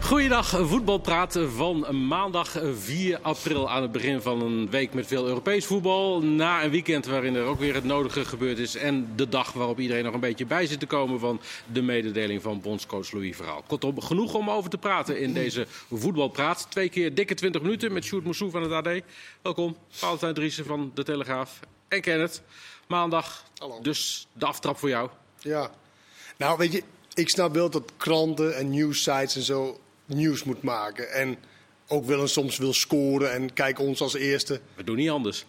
Goeiedag, voetbalpraat van maandag 4 april aan het begin van een week met veel Europees voetbal. Na een weekend waarin er ook weer het nodige gebeurd is. En de dag waarop iedereen nog een beetje bij zit te komen van de mededeling van bondscoach Louis Verhaal. Kortom, genoeg om over te praten in deze voetbalpraat. Twee keer dikke 20 minuten met Sjoerd Moussouf van het AD. Welkom, Valentijn Driessen van De Telegraaf en Kenneth. Maandag, Hallo. dus de aftrap voor jou. Ja. Nou, weet je, ik snap wel dat kranten en nieuwsites en zo nieuws moet maken. En ook wel eens soms wil scoren en kijk ons als eerste. We doen niet anders.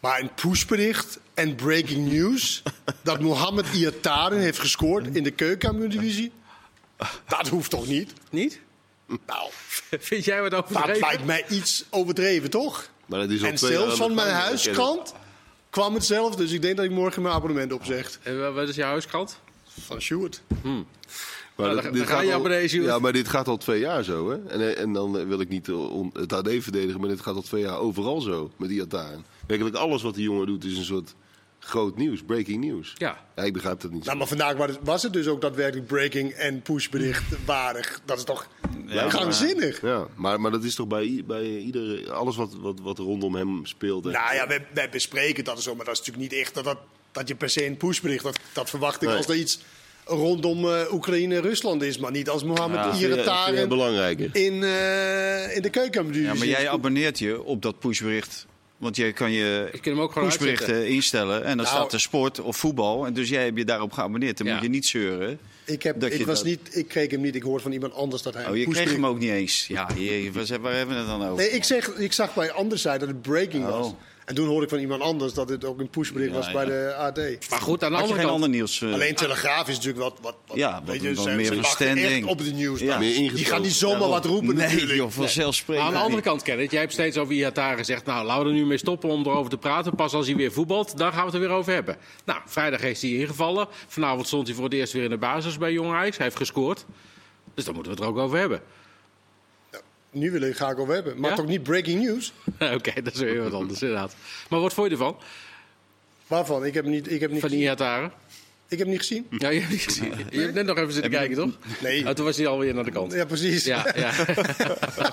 Maar een pushbericht en breaking news dat Mohamed Iataren heeft gescoord in de keukenkampioen-divisie. Dat hoeft toch niet? Niet? Nou, Vind jij wat dat overdreven? lijkt mij iets overdreven, toch? Maar dat is al En twee jaar zelfs aan van de mijn gang, hè, Kenneth. huiskant kwam het zelf. Dus ik denk dat ik morgen mijn abonnement opzeg. En wa- Wat is je huiskrant? Van Sjoerd. Maar Nou, dat- dan- dit dan ga gaat je al- op reis, Jules. Ja, maar dit gaat al twee jaar zo. Hè? En, en dan eh, wil ik niet eh, on- het AD verdedigen, maar dit gaat al twee jaar overal zo met die Iataren. Werkelijk alles wat die jongen doet is een soort groot nieuws, breaking nieuws. Ja. ik begrijp dat niet. Nou, maar vandaag wa- was het dus ook daadwerkelijk breaking en pushbericht waardig. Dat is toch gangzinnig? ja, maar, maar dat is toch bij, i- bij iedere, alles wat, wat, wat rondom hem speelt. hè? Nou ja, wij, wij bespreken dat zo, maar dat is natuurlijk niet echt dat, dat, dat je per se een pushbericht... Dat, dat verwacht ik Nee. als er iets rondom eh, Oekraïne en Rusland is, maar niet als Mohammed dat vind jij- dat vind jij Iretaren belangrijker. in, eh, in de keuken. Ja, maar jij abonneert je op dat pushbericht. Want jij kan je Ik kan hem ook gewoon pushberichten instellen. En dan Nou. staat er sport of voetbal. En dus jij hebt je daarop geabonneerd. Dan Ja. moet je niet zeuren. ik, heb, dat ik, je was dat- niet, ik kreeg hem niet, ik hoorde van iemand anders dat hij Oh, een je kreeg pushbericht- hem ook niet eens. Ja, je, waar waar hebben we het dan over? Nee, ik, zeg, ik zag bij een andere site dat het breaking was. Oh. En toen hoorde ik van iemand anders dat het ook een pushbericht Ja, was bij ja. de AD. Maar goed, aan de Had je andere geen kant. ander nieuws? eh, Alleen Telegraaf is natuurlijk wat... wat, wat Ja, weet wat- je, wat ze- meer ze van wachten echt standing. op de nieuws. Ja. Meer Die ingestoken. gaan niet zomaar wat roepen Nee, natuurlijk. joh, vanzelfsprekend. Aan de andere niet. kant, Kenneth, jij hebt steeds over Iataren zegt... nou, laten we er nu mee stoppen om erover te praten. Pas als hij weer voetbalt, dan gaan we het er weer over hebben. Nou, vrijdag is hij ingevallen. Vanavond stond hij voor het eerst weer in de basis bij Jong Ajax. Hij heeft gescoord. Dus dan moeten we het er ook over hebben. Nu wil ik graag over hebben. Maar Ja? toch niet breaking news? Oké, dat is weer wat anders inderdaad. Maar wat vond je ervan, Waarvan? Ik heb niet, ik heb niet, van gezien. Iataren? Ik heb niet gezien. Ja, je hebt niet gezien. Je hebt net nog even zitten Heb je- kijken, toch? Nee. Oh, toen was hij alweer naar de kant. Ja, precies. Ja, ja.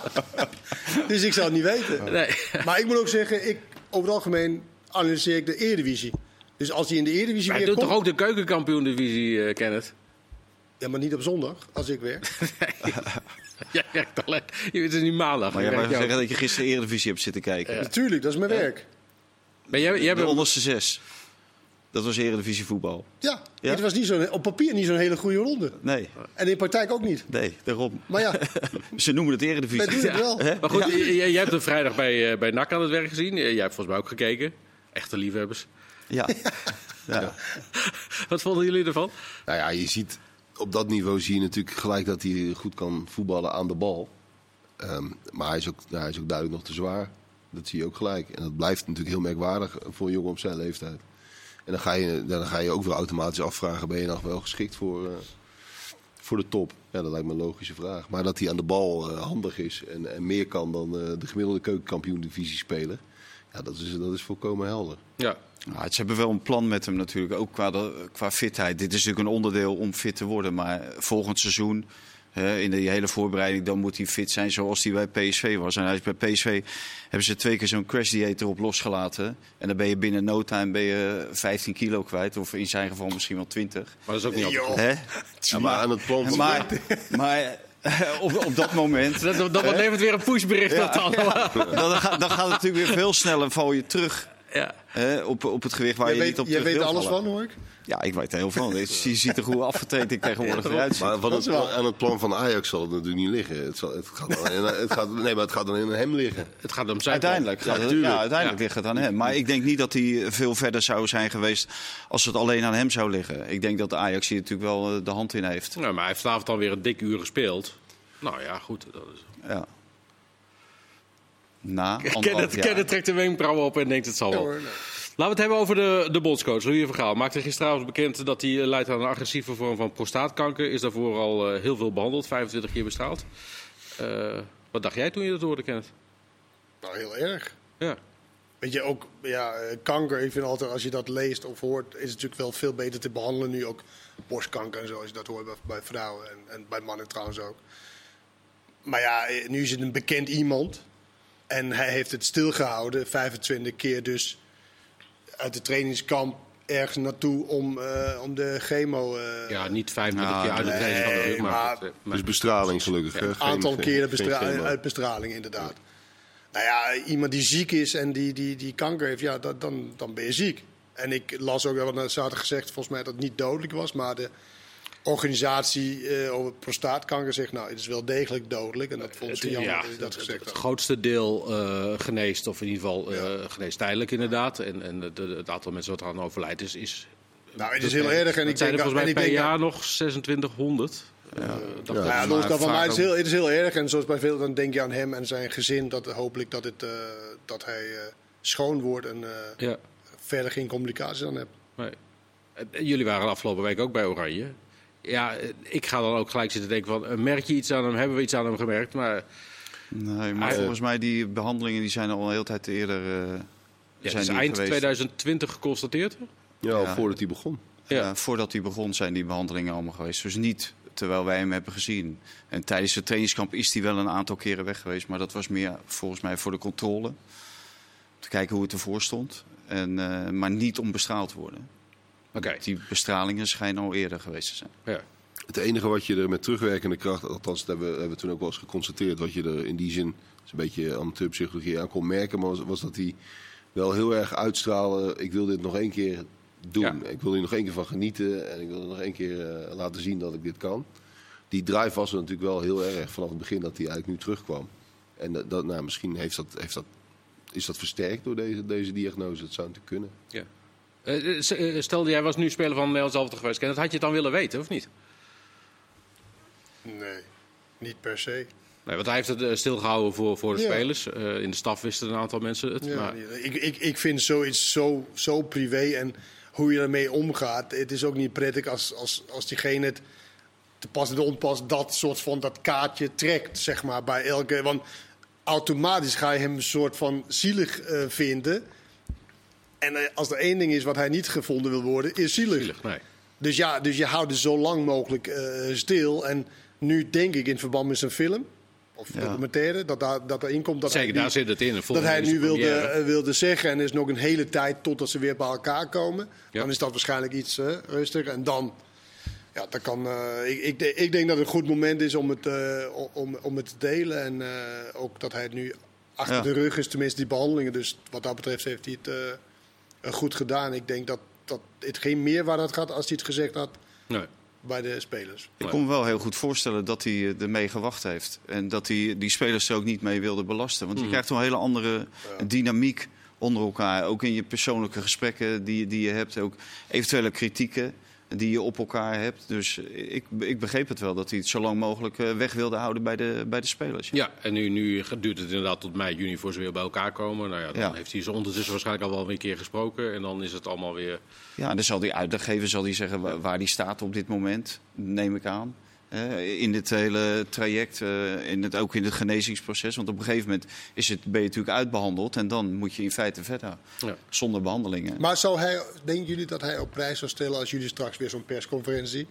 Dus ik zou het niet weten. Nee. Maar ik moet ook zeggen, ik, over het algemeen analyseer ik de Eredivisie. Dus als hij in de Eredivisie Hij weer doet komt... toch ook de keukenkampioen-divisie, eh Kenneth? Ja, maar niet op zondag, als ik weer. Jij werkt alleen. Het is nu maandag. Maar Je jij wou werkt jou- zeggen dat je gisteren Eredivisie hebt zitten kijken. Dus Natuurlijk, dat is mijn werk. Maar jij, jij De bent- onderste zes. Dat was Eredivisie voetbal. Ja, Ja? het was niet zo'n, op papier niet zo'n hele goede ronde. Nee, En in praktijk ook niet. nee, daarom. Maar ja, Ze noemen het wij doen Eredivisie. het wel. Maar goed, j- j- jij hebt hem vrijdag bij, eh bij NAC aan het werk gezien. Eh, Jij hebt volgens mij ook gekeken. Echte liefhebbers. Ja. ja. Wat vonden jullie ervan? Nou ja, je ziet op dat niveau zie je natuurlijk gelijk dat hij goed kan voetballen aan de bal. Ehm, maar hij is, ook, ja, hij is ook duidelijk nog te zwaar. Dat zie je ook gelijk. En dat blijft natuurlijk heel merkwaardig voor een jongen op zijn leeftijd. En dan ga je, dan ga je ook weer automatisch afvragen: ben je nog wel geschikt voor, eh, voor de top? Ja, dat lijkt me een logische vraag. Maar dat hij aan de bal eh, handig is en, en meer kan dan eh, de gemiddelde keukenkampioen-divisie speler. Ja, dat is, dat is volkomen helder. Ja. Nou, ze hebben wel een plan met hem natuurlijk, ook qua, de- qua fitheid. Dit is natuurlijk een onderdeel om fit te worden. Maar volgend seizoen, hè, in die hele voorbereiding, dan moet hij fit zijn zoals hij bij PSV was. En hij is bij PSV hebben ze twee keer zo'n crash dieet erop losgelaten. En dan ben je binnen no time ben je 15 kilo kwijt. Of in zijn geval misschien wel 20. Maar dat is ook niet altijd Joh. Hè? Ja, maar aan het plan van Maar, maar eh, op, op dat moment... goed. Dat, dat wordt even weer een pushbericht. dat dan. Ja. Dan gaat, dan gaat het natuurlijk weer veel sneller, val je terug hè, op, op het gewicht waar Jij je weet, niet op jij terug weet wil alles vallen. Oh. van, hoor ik. Ja, ik weet er heel veel van. Je ziet er hoe afgetraind ik tegenwoordig eruit zie. Maar van het, is wel- aan het plan van Ajax zal het natuurlijk niet liggen. Het, zal, het, gaat, alleen, het, gaat, nee, maar het gaat alleen aan hem liggen. Het gaat om zijn Uiteindelijk, gaat het, tuurlijk. ja, uiteindelijk Ja. ligt het aan hem. Maar ik denk niet dat hij veel verder zou zijn geweest als het alleen aan hem zou liggen. Ik denk dat de Ajax hier natuurlijk wel eh, de hand in heeft. plan. Ja, Nou, maar hij heeft vanavond alweer een dik uur gespeeld. Nou ja, goed. Dat is... Ja. Na Kenneth, anderhalf jaar. Kenneth trekt de wenkbrauwen op en denkt het zal Ja, wel. hoor, nee. Laten we het hebben over de, de bondscoach, Louis van Gaal. Maakte gisteravond bekend dat hij eh, lijdt aan een agressieve vorm van prostaatkanker. Is daarvoor al eh, heel veel behandeld, 25 keer bestraald. Eh, wat dacht jij toen je dat hoorde, Kenneth? Nou, heel erg. Ja. Weet je, ook ja, eh, kanker, ik vind altijd als je dat leest of hoort, is het natuurlijk wel veel beter te behandelen nu ook borstkanker en zo, als je dat hoort bij, bij vrouwen en, en bij mannen trouwens ook. Maar ja, eh, nu is het een bekend iemand. En hij heeft het stilgehouden, 25 keer dus uit de trainingskamp ergens naartoe om, eh, om de chemo. eh, Ja, niet 25 Nou, keer uit de nee, training van de rug, maar, maar- goed, eh, maar- Dus bestraling gelukkig. hè? Geen- aantal geen- keren geen bestra- chemo. uit bestraling, inderdaad. Nou ja, iemand die ziek is en die, die, die kanker heeft, ja, dat, dan, dan ben je ziek. En ik las ook, wel, er zaten gezegd volgens mij dat het niet dodelijk was, maar de organisatie eh, over prostaatkanker zegt, nou, het is wel degelijk dodelijk. En dat vonden ze jammer dat ze dat het- gezegd het had. grootste deel eh, geneest, of in ieder geval eh, geneest tijdelijk inderdaad. En, en de- de- het aantal mensen wat eraan overlijdt is... is Nou, het is heel erg en ik het zijn denk, er dat- volgens en mij ik per denk dat- jaar nog 2600. Ja. dat Nou ja, Maar los daarvan, vaak maar het is, ook- heel, het is heel erg. En zoals bij veel, dan denk je aan hem en zijn gezin. Dat, hopelijk dat, het, eh, dat hij eh, schoon wordt en eh, ja. verder geen complicaties aan hebt. Nee. En eh, Jullie waren afgelopen week ook bij Oranje. Ja, eh, ik ga dan ook gelijk zitten denken van, eh, merk je iets aan hem? Hebben we iets aan hem gemerkt? Maar Nee, maar Ah, volgens mij die behandelingen die zijn al een hele tijd eerder eh ja, het zijn is die eind geweest. 2020 geconstateerd. Ja, al Ja. voordat hij begon. Ja. Ja. Eh, voordat hij begon zijn die behandelingen allemaal geweest. Dus niet terwijl wij hem hebben gezien. En tijdens het trainingskamp is hij wel een aantal keren weg geweest. Maar dat was meer volgens mij voor de controle. Om te kijken hoe het ervoor stond. En, eh, maar niet om bestraald te worden. Oké, Die bestralingen schijnen al eerder geweest te zijn. ja. Het enige wat je er met terugwerkende kracht, althans dat hebben, we- hebben we toen ook wel eens geconstateerd, wat je er in die zin, dat is een beetje amateurpsychologie aan kon merken, maar was, was dat hij wel heel erg uitstraalde, ik wil dit nog één keer doen. Ja. Ik wil hier nog één keer van genieten en ik wil er nog één keer eh, laten zien dat ik dit kan. Die drive was er natuurlijk wel heel erg vanaf het begin dat hij eigenlijk nu terugkwam. En dat, dat- nou, misschien heeft dat, heeft dat, is dat versterkt door deze, deze diagnose, dat zou natuurlijk kunnen. ja. Eh, eh, s- eh, stel, jij was nu speler van Nederlands Elftal geweest. Ken, dat had je het dan willen weten, of niet? Nee, niet per se. Nee, want hij heeft het eh, stilgehouden voor, voor de Ja. spelers. Eh, in de staf wisten een aantal mensen het. Ja, maar, nee, ik, ik, ik vind zoiets zo, zo privé en hoe je ermee omgaat. Het is ook niet prettig als, als, als diegene het te pas en te onpas dat soort van dat kaartje trekt, zeg maar, bij elke. Want automatisch ga je hem een soort van zielig eh, vinden. En eh, als er één ding is wat hij niet gevonden wil worden, is zielig. zielig, nee. Dus ja, dus je houdt het zo lang mogelijk eh, stil. En nu denk ik in verband met zijn film of Ja. documentaire dat, daar, dat erin komt dat Zeker, hij nu- daar zit het in. dat hij nu wilde, wilde. eh, wilde zeggen. En er is nog een hele tijd totdat ze weer bij elkaar komen. Ja. Dan is dat waarschijnlijk iets eh, rustiger. En dan. Ja, dat kan, eh, ik, ik, de- ik denk dat het een goed moment is om het, eh, o- om, om het te delen. En eh, ook dat hij het nu achter Ja. de rug is, tenminste die behandelingen. Dus wat dat betreft heeft hij het eh, eh, goed gedaan. Ik denk dat, dat het geen meerwaarde had gehad als hij het gezegd had Nee. bij de spelers. Ik kon me wel heel goed voorstellen dat hij eh, ermee gewacht heeft. En dat hij die spelers er ook niet mee wilde belasten. Want je krijgt een hele andere dynamiek onder elkaar. Ook in je persoonlijke gesprekken die, die je hebt. Ook eventuele kritieken die je op elkaar hebt. Dus ik, ik begreep het wel dat hij het zo lang mogelijk eh, weg wilde houden bij de, bij de spelers. ja. Ja, en nu, nu duurt het inderdaad tot mei, juni voor ze weer bij elkaar komen. Nou ja, dan Ja. heeft hij ze ondertussen waarschijnlijk al wel een keer gesproken. En dan is het allemaal weer... Ja, en dan zal die uitgever zal die zeggen wa- waar die staat op dit moment, neem ik aan. Eh, in dit hele traject, eh, in het, ook in het genezingsproces. Want op een gegeven moment is het, ben je natuurlijk uitbehandeld en dan moet je in feite verder. Ja. Zonder behandelingen. Maar zou hij, denken jullie dat hij op prijs zou stellen als jullie straks weer zo'n persconferentie?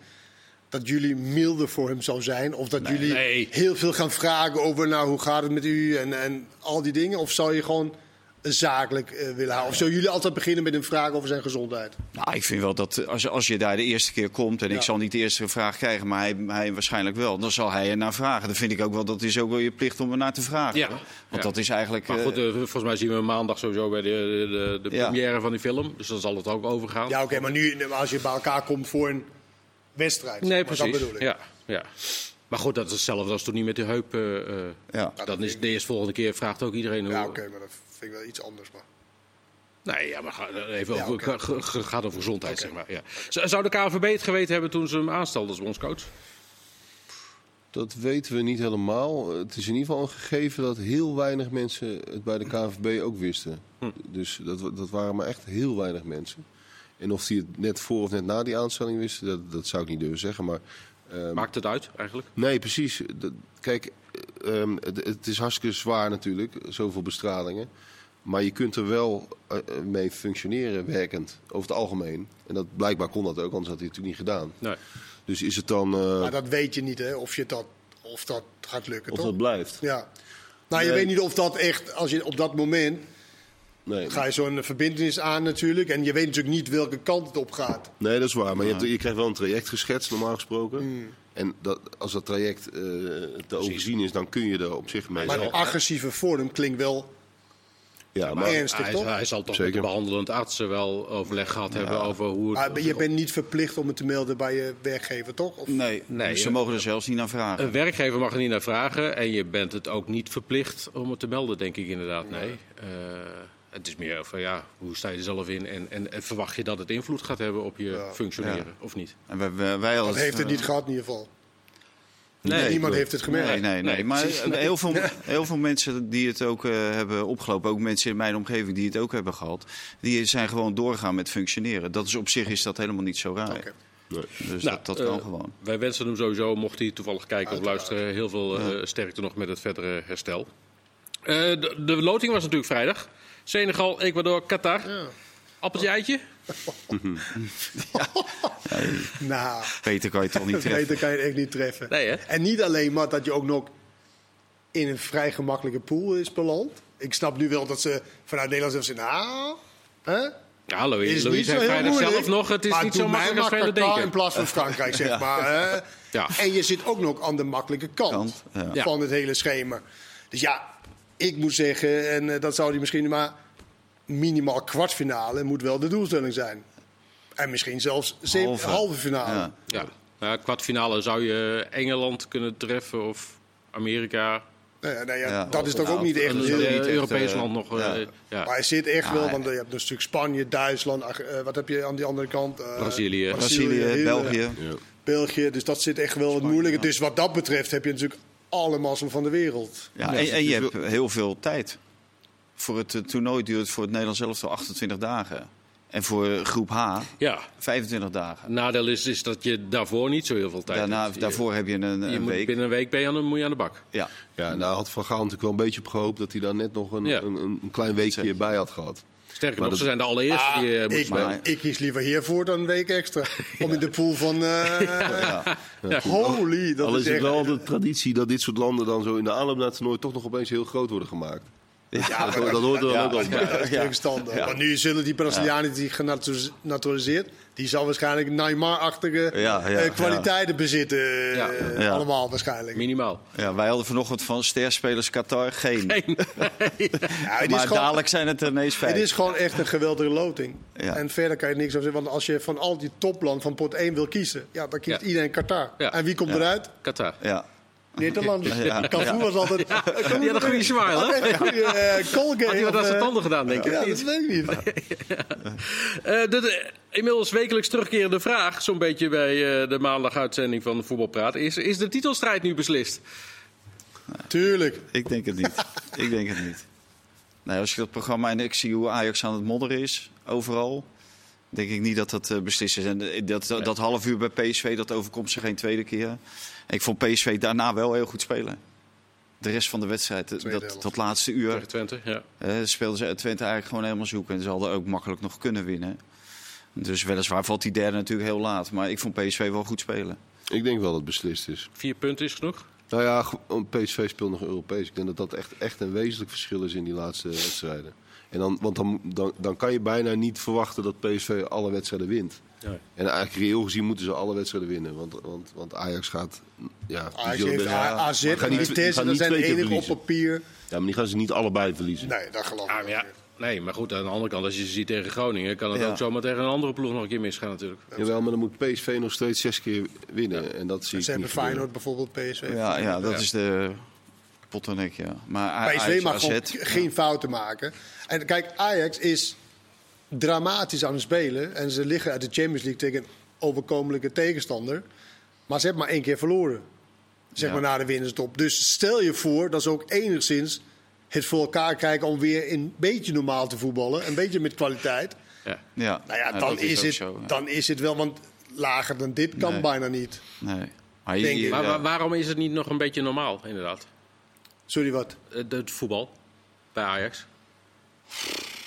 Dat jullie milder voor hem zou zijn? Of dat jullie nee. heel veel gaan vragen over nou, hoe gaat het met u en, en al die dingen? Of zou je gewoon zakelijk eh, willen houden? Of zou jullie altijd beginnen met een vraag over zijn gezondheid? Nou, ik vind wel dat eh, als, als je daar de eerste keer komt, en Ja. ik zal niet de eerste vraag krijgen, maar hij, hij waarschijnlijk wel, dan zal hij ernaar vragen. Dan vind ik ook wel dat is ook wel je plicht om ernaar te vragen. Ja. hoor. Want Ja. dat is eigenlijk. Maar eh, goed, eh, volgens mij zien we hem maandag sowieso bij de, de, de Ja. première van die film. Dus dan zal het ook overgaan. Ja, oké, maar nu als je bij elkaar komt voor een wedstrijd. nee, Maar precies. Dat bedoel ik. Ja, ja. Maar goed, dat is hetzelfde als toen niet met de heup. eh, eh, ja. dan is de eerstvolgende keer vraagt ook iedereen hoe... Ja, oké, maar dat vind ik wel iets anders. Maar. Nee, ja, maar ga- eh, even Ja, over, oké. ga- ga- gaat over gezondheid, zeg maar. Ja. Z- Zou de KNVB het geweten hebben toen ze hem aanstelden als bondscoach? Dat weten we niet helemaal. Het is in ieder geval een gegeven dat heel weinig mensen het bij de KNVB ook wisten. Dus dat, wa- dat waren maar echt heel weinig mensen. En of die het net voor of net na die aanstelling wisten, dat, dat zou ik niet durven zeggen. Maar ehm, Maakt het uit, eigenlijk? Nee, precies. Dat- kijk, eh, ehm, het, het is hartstikke zwaar natuurlijk, zoveel bestralingen. Maar je kunt er wel eh, eh, mee functioneren werkend, over het algemeen. En dat, blijkbaar kon dat ook, anders had hij het natuurlijk niet gedaan. Nee. Dus is het dan... eh, Maar dat weet je niet, hè? Of je dat. of dat gaat lukken, Of toch? dat blijft. Ja. Nou, je Nee. weet niet of dat echt, als je op dat moment Nee. ga je zo'n verbindenis aan natuurlijk. En je weet natuurlijk niet welke kant het op gaat. Nee, dat is waar. Maar je, hebt- je krijgt wel een traject geschetst, normaal gesproken. En dat, als dat traject eh, te overzien is, dan kun je er op zich mee. Maar een werken. agressieve vorm klinkt wel ja, maar ernstig, hij, toch? hij zal toch Zeker. met de behandelend artsen wel overleg gehad hebben over hoe het... Maar Ah, je bent niet verplicht om het te melden bij je werkgever, toch? Of, Nee, dus Nee, ze eh, mogen er zelfs niet naar vragen. Een werkgever mag er niet naar vragen en je bent het ook niet verplicht om het te melden, denk ik inderdaad. Nee. Eh, het is meer van ja, hoe sta je er zelf in en, en, en verwacht je dat het invloed gaat hebben op je functioneren of niet? En wij, wij, wij eh, dat hadden- heeft het niet gehad in ieder geval. Nee, Niemand heeft het gemerkt. Nee, nee, nee. Nee, maar eh, heel, veel, heel veel mensen die het ook eh, hebben opgelopen, ook mensen in mijn omgeving die het ook hebben gehad, die zijn gewoon doorgaan met functioneren. Dat is op zich is dat helemaal niet zo raar. Oké. Dus Nou, dat, dat kan eh, gewoon. Wij wensen hem sowieso, mocht hij toevallig kijken of luisteren, heel veel eh, sterkte nog met het verdere herstel. Eh, de, de loting was natuurlijk vrijdag. Senegal, Ecuador, Qatar. Appeltje eitje? Nou, Peter kan je toch niet treffen. beter kan je het echt niet treffen. Nee, hè? En niet alleen maar dat je ook nog in een vrij gemakkelijke pool is beland. Ik snap nu wel dat ze vanuit Nederland zelfs zeggen, nou, hè? Ja, Is Louis, niet Louis zo zei heel vrijdag moeilijk, zelf nog, het is maar niet doe zo mij makkelijk als maar velen Qatar denken. in plaats van Frankrijk, zeg maar. hè. Ja. En je zit ook nog aan de makkelijke kant Kant, ja. van het hele schema. Dus ja, ik moet zeggen, en eh, dat zou die misschien maar minimaal kwartfinale moet wel de doelstelling zijn. En misschien zelfs zeven- halve, Halve. finale. Ja. Ja. Nou, kwartfinale zou je eh, Engeland kunnen treffen of Amerika. Nou ja, nou ja, Ja, dat is toch nou, ook niet echt dat Een is heel... niet echt, Europees eh, land nog. ja. eh, ja. Maar hij zit echt wel, Ah, want je hebt een stuk Spanje, Duitsland, Ach- eh, wat heb je aan die andere kant? Eh, Brazilië. Brazilië, heel- eh, België. België, dus dat zit echt wel wat moeilijker. Dus wat dat betreft heb je natuurlijk alle mazzel van de wereld. Ja, en, en je hebt heel veel tijd. Voor het eh, toernooi duurt het voor het Nederlands zelf al 28 dagen. En voor eh, groep H ja. 25 dagen. Nadeel is, is dat je daarvoor niet zo heel veel tijd Daarna, hebt. Je- daarvoor heb je een, je een moet, week. Binnen een week ben je aan, de- moet je aan de bak. Ja. ja, en daar had Van Gaal natuurlijk wel een beetje op gehoopt dat hij daar net nog een, Ja. een, een klein weekje Zeker. bij had gehad. Sterker nog, Maar dat- ze zijn de allereerste Ah, die eh, moeten ik, spelen. maar- ik kies liever hiervoor dan een week extra. Om in de pool van... eh, Holy, dat Al is is het echt... wel de traditie dat dit soort landen dan zo in de aanloop naar het toernooi toch nog opeens heel groot worden gemaakt. Ja, Dat, dat hoort er dan Ja. ook al bij. Ja, dat is tegenstander. Want nu zullen die Brazilianen die genaturaliseerd... die zal waarschijnlijk Neymar-achtige Ja, ja, eh, ja. kwaliteiten bezitten. eh, Ja, ja, ja. Allemaal waarschijnlijk. Minimaal. Ja, wij hadden vanochtend van sterspelers Qatar geen. Ja, het is maar gewoon- dadelijk zijn het er ineens vijf. Het is gewoon echt een geweldige loting. Ja. En verder kan je niks over zeggen. Want als je van al die topland van pot 1 wil kiezen, ja, dan kiest Ja. iedereen Qatar. Ja. En wie komt eruit? Qatar. Ja. Nederlanders. Ja. Cafu was altijd... Die had een goede smile, hè? Had echt een goede eh, Colgate. Had hij wat of, aan zijn eh, tanden gedaan, denk ik. Ja, of niet? dat weet ik niet. Eh, de, de- inmiddels wekelijks terugkerende vraag, zo'n beetje bij eh, de maandaguitzending van Voetbalpraat, is: is de titelstrijd nu beslist? Tuurlijk. Ik denk het niet. ik denk het niet. Nee, als ik dat programma en ik zie hoe Ajax aan het modderen is, overal, denk ik niet dat dat eh, beslist is. En eh, dat, dat, dat half uur bij PSV, dat overkomt ze geen tweede keer. En ik vond PSV daarna wel heel goed spelen. De rest van de wedstrijd, eh, helft. dat, dat laatste uur, Tegen Twente, ja. eh, speelden ze Twente eigenlijk gewoon helemaal zoeken. En ze hadden ook makkelijk nog kunnen winnen. Dus weliswaar valt die derde natuurlijk heel laat. Maar ik vond PSV wel goed spelen. Ik denk wel dat het beslist is. Vier punten is genoeg. Nou ja, ge- PSV speelt nog Europees. Ik denk dat dat echt, echt een wezenlijk verschil is in die laatste wedstrijden. En dan, want dan, dan, dan kan je bijna niet verwachten dat PSV alle wedstrijden wint. Ja. En eigenlijk reëel gezien moeten ze alle wedstrijden winnen. Want, want, want Ajax gaat... Ja, die Ajax zullen heeft best- A- AZ Maar gaan en niet- Vitesse. gaan Dat niet zijn de twee keer enige op verliezen. papier. Ja, maar die gaan ze niet allebei verliezen. Nee, dat geloof ik Ah, maar niet. ja. Nee, maar goed, aan de andere kant, als je ze ziet tegen Groningen, kan het Ja. ook zomaar tegen een andere ploeg nog een keer misgaan, natuurlijk. Jawel, maar dan moet PSV nog steeds zes keer winnen. En dat zie ik Ze hebben niet gebeuren. Feyenoord bijvoorbeeld, PSV. Ja, ja dat is de pottenek, ja. Maar A- PSV Ajax, mag AZ, gewoon k- geen fouten maken. En kijk, Ajax is dramatisch aan het spelen. En ze liggen uit de Champions League tegen een overkomelijke tegenstander. Maar ze hebben maar één keer verloren. Zeg Ja. maar na de winststop. Dus stel je voor dat ze ook enigszins het voor elkaar krijgen om weer een beetje normaal te voetballen. Een beetje met kwaliteit. Ja. Ja. Nou ja, Ja, dan, dat is, ook het, zo, ja. dan is het wel. Want lager dan dit kan Nee. bijna niet. Nee. Maar je, Denk ik. je- Maar ja. wa- waarom is het niet nog een beetje normaal, inderdaad? Eh, Sorry wat. Het, het voetbal bij Ajax.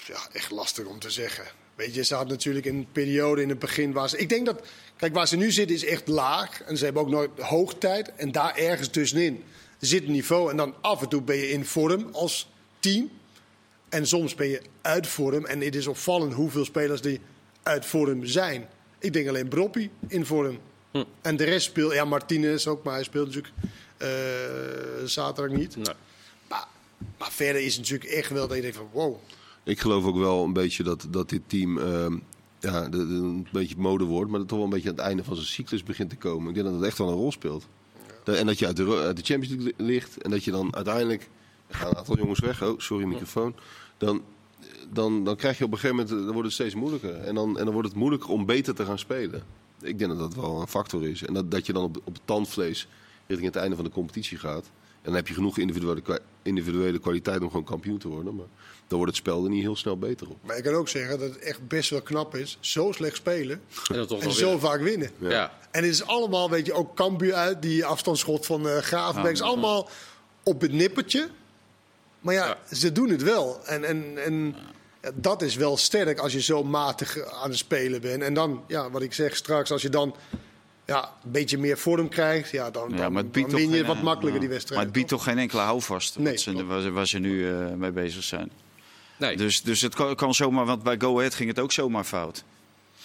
ja, echt lastig om te zeggen. Weet je, ze had natuurlijk een periode in het begin waar ze. Ik denk dat. Kijk, waar ze nu zitten is echt laag. En ze hebben ook nooit hoogtijd. En daar ergens tussenin zit een niveau. En dan af en toe ben je in vorm als team. En soms ben je uit vorm. En het is opvallend hoeveel spelers die uit vorm zijn. Ik denk alleen Broppi in vorm. En de rest speelt. Ja, Martinez ook, maar hij speelt natuurlijk eh, zaterdag niet. Nou, Maar, maar verder is het natuurlijk echt wel dat je denkt van wow. Ik geloof ook wel een beetje dat, dat dit team ehm, ja, de- de- een beetje het modewoord, maar dat toch wel een beetje aan het einde van zijn cyclus begint te komen. Ik denk dat het echt wel een rol speelt. Da- En dat je uit de, ro- uit de Champions League li- ligt en dat je dan uiteindelijk. Er gaan een aantal jongens weg. Oh, sorry, microfoon. Dan, dan, dan krijg je op een gegeven moment. eh, Dan wordt het steeds moeilijker. En dan, en dan wordt het moeilijker om beter te gaan spelen. Ik denk dat dat wel een factor is. En dat, dat je dan op, op het tandvlees richting het einde van de competitie gaat. En dan heb je genoeg individuele, kwa- individuele kwaliteit om gewoon kampioen te worden. Maar dan wordt het spel er niet heel snel beter op. Maar ik kan ook zeggen dat het echt best wel knap is. Zo slecht spelen en dat toch en wel zo weer. vaak winnen. Ja. En het is allemaal, weet je, ook Cambuur uit, die afstandsschot van eh Gravenberg. Het is allemaal op het nippertje. Maar ja, Ja. ze doen het wel. En, en, en dat is wel sterk als je zo matig aan het spelen bent. En dan, ja, wat ik zeg straks, als je dan ja, een beetje meer vorm krijgt, ja, dan, Ja, dan, maar het dan biedt toch win je geen- eh, wat makkelijker die Maar wedstrijd. het biedt toch geen enkele houvast wat Nee, ze, klopt. waar, ze, waar ze nu eh, mee bezig zijn. Nee. Dus, dus het kan, kan zomaar, want bij Go Ahead ging het ook zomaar fout.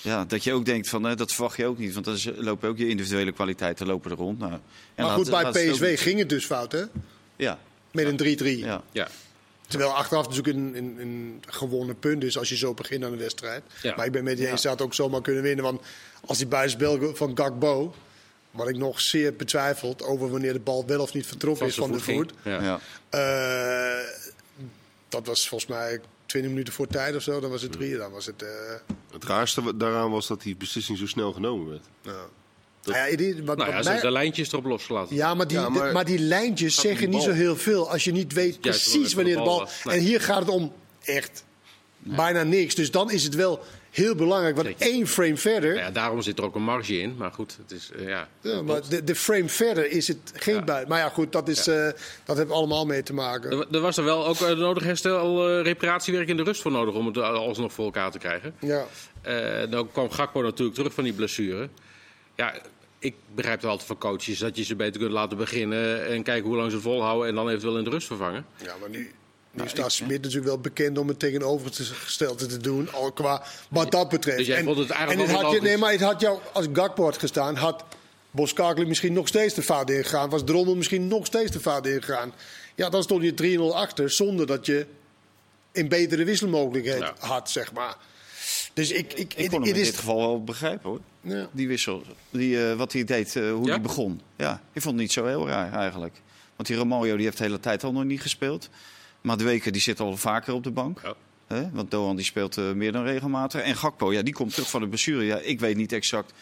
Ja, dat je ook denkt van, eh, dat verwacht je ook niet. Want dan is- lopen ook je individuele kwaliteiten lopen er rond. Nou, en maar laat- goed, bij laat ze het ook PSW niet- ging het dus fout, hè? Ja, Met een 3-3. ja. ja. Terwijl achteraf natuurlijk een, een, een gewonnen punt is als je zo begint aan de wedstrijd. Ja. Maar ik ben met je eens, ze had ook zomaar kunnen winnen. Want als die buitenspel van Gakbo, wat ik nog zeer betwijfeld over wanneer de bal wel of niet vertrokken Van is zijn van de voet voet. ging. Ja. ja. eh, dat was volgens mij 20 minuten voor tijd of zo. Dan was het drie, dan was het... eh, Het raarste wa- daaraan was dat die beslissing zo snel genomen werd. nou. Nou ja, die- Nou wat- wat ja, ze mij- hebben de lijntjes erop losgelaten. Ja, maar die, Ja, de- maar- maar, die lijntjes Gaat om zeggen die niet zo bal. heel veel als je niet weet Juist, wanneer precies wanneer de bal. was. Nee. En hier gaat het om echt bijna niks. Dus dan is het wel heel belangrijk. Want Zeker. één frame verder, Nou ja, ja, daarom zit er ook een marge in. Maar goed, het is, eh, ja. maar de, de frame verder is het geen Ja. buiten. Maar ja, goed, dat, is, eh, dat heeft allemaal mee te maken. Er, er was er wel ook eh, nodig herstel, eh, reparatiewerk in de rust voor nodig om het eh, alsnog voor elkaar te krijgen. Ja. Eh, dan kwam Gakpo natuurlijk terug van die blessure. Ja, ik begrijp het altijd van coaches dat je ze beter kunt laten beginnen en kijken hoe lang ze volhouden en dan eventueel in de rust vervangen. ja, maar nu, nu staat Smit natuurlijk wel bekend om het tegenovergestelde te doen. Al qua wat dat betreft. Dus jij en vond het eigenlijk en het wel had je, Nee, logisch? maar het had jou, als Gakpo had gestaan, had Boskakeli misschien nog steeds de vader ingegaan. Was Drommel misschien nog steeds de vader ingegaan. Ja, dan stond je 3-0 achter zonder dat je een betere wisselmogelijkheid Ja. had, zeg maar. Dus ik, ik, Ik het- kon hem het in is- dit geval wel begrijpen hoor. Ja. Die wissel, die, eh, wat hij deed, eh, hoe Ja? hij begon. Ja, ik vond het niet zo heel raar eigenlijk. Want die Romario die heeft de hele tijd al nog niet gespeeld. Maar de weken die zit al vaker op de bank. Eh, Ja. Hè? Want Doan die speelt eh, meer dan regelmatig. En Gakpo, ja, die komt terug van de blessure. Ja, ik weet niet exact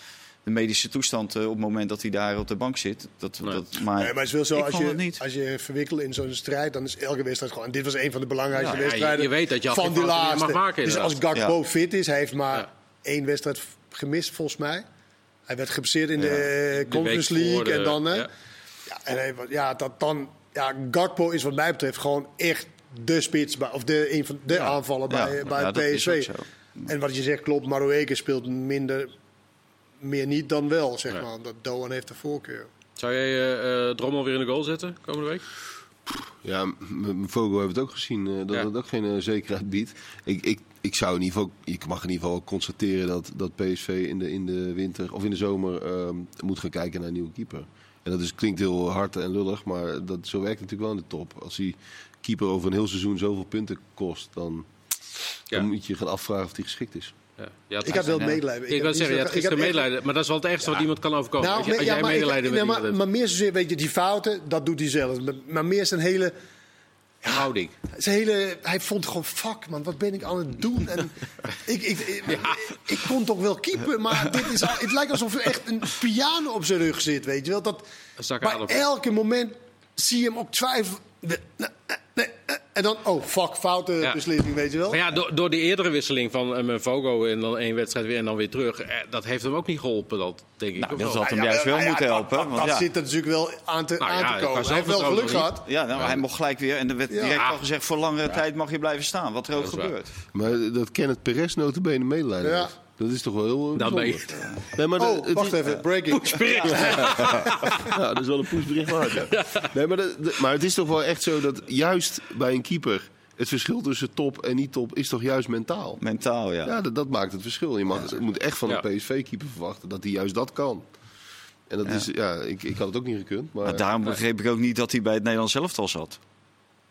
de medische toestand eh, op het moment dat hij daar op de bank zit. Dat, Nee. dat, maar, Nee, maar het is wel zo, ik als vond het je, niet. als je verwikkelt in zo'n strijd, dan is elke wedstrijd gewoon... En dit was een van de belangrijkste Ja, ja, wedstrijden je- je weet dat je van afgevallen die niet mag laatste. maken, dus als inderdaad. Gakpo Ja. fit is, hij heeft maar Ja. één wedstrijd f- gemist volgens mij. Hij werd geblesseerd in de eh, De Conference week voor League de- en dan... hè. ja. Ja. en hij, wa- ja, dat dan... Ja, Gakpo is wat mij betreft gewoon echt de spits, bij- of de, een van de Ja. aanvaller bij, Ja, bij ja, dat is PSV. ook zo. En wat je zegt klopt, Maroueke speelt minder, meer niet dan wel, zeg maar. Omdat Doan heeft de voorkeur. Zou jij eh, eh, Drommel weer in de goal zetten komende week? Ja, m- m- Vogel hebben we het ook gezien, eh, dat Ja. dat ook geen eh, zekerheid biedt. Ik, ik, ik zou in ieder geval, ik mag in ieder geval constateren dat, dat PSV in de, in de winter of in de zomer ehm, moet gaan kijken naar een nieuwe keeper. En dat is, klinkt heel hard en lullig, maar dat, zo werkt het natuurlijk wel in de top. Als die keeper over een heel seizoen zoveel punten kost, dan, Ja. dan moet je je gaan afvragen of die geschikt is. Ja. Ja, het- Ik had wel Ja. medelijden. eh, ik wil had zeggen, je niet had zo- ik had gisteren echt- medelijden. Maar dat is wel het ergste wat iemand kan overkomen. Nou, als, je- als nee, ja, jij maar ik- medelijden nee, met maar, iemand hebt. maar meer zozeer, weet je, die fouten, dat doet hij zelf. Maar, maar meer zijn hele, Houding. zijn hele... Hij vond gewoon, fuck man, wat ben ik aan het doen? En ik, ik, ik, ik kon toch wel keepen, maar dit is, al- het lijkt alsof er echt een piano op zijn rug zit, weet je wel. Dat, Een zak bij adem. elke moment zie je hem ook twijfelen. De- Nee, nee, nee, En dan, oh fuck, foute Ja. beslissing, weet je wel. Maar ja, door, door die eerdere wisseling van uh, Vogo en dan één wedstrijd weer en dan weer terug, eh, dat heeft hem ook niet geholpen, dat denk ik. Nou, of dat wel? had hem Ja, juist ja, wel ja, moeten dat- helpen. Dat, want dat ja. zit er natuurlijk wel aan te, Nou ja, aan qua te komen. Hij heeft wel zelfvertrouwen geluk niet. gehad. Ja, nou, hij mocht gelijk weer. En er werd direct al gezegd, voor langere tijd mag je blijven staan. Wat er ook Dat is waar. gebeurt. Maar dat Kenneth Perez notabene medelijden Ja. heeft. Dat is toch wel heel eh, Dan ben je- bijzonder. Nee, maar dat- Oh, het wacht is- even, breaking. Ja, dat is wel een pushbericht waard. ja. Nee, maar, dat- dat- maar het is toch wel echt zo dat juist bij een keeper... het verschil tussen top en niet top is toch juist mentaal? Mentaal, ja. Ja, dat, dat maakt het verschil. Je, mag, je moet echt van Ja. een PSV-keeper verwachten dat hij juist dat kan. En dat is, ja, ik, ik had het ook niet gekund. Maar, Maar daarom begreep ik ook niet dat hij bij het Nederlands elftal zat.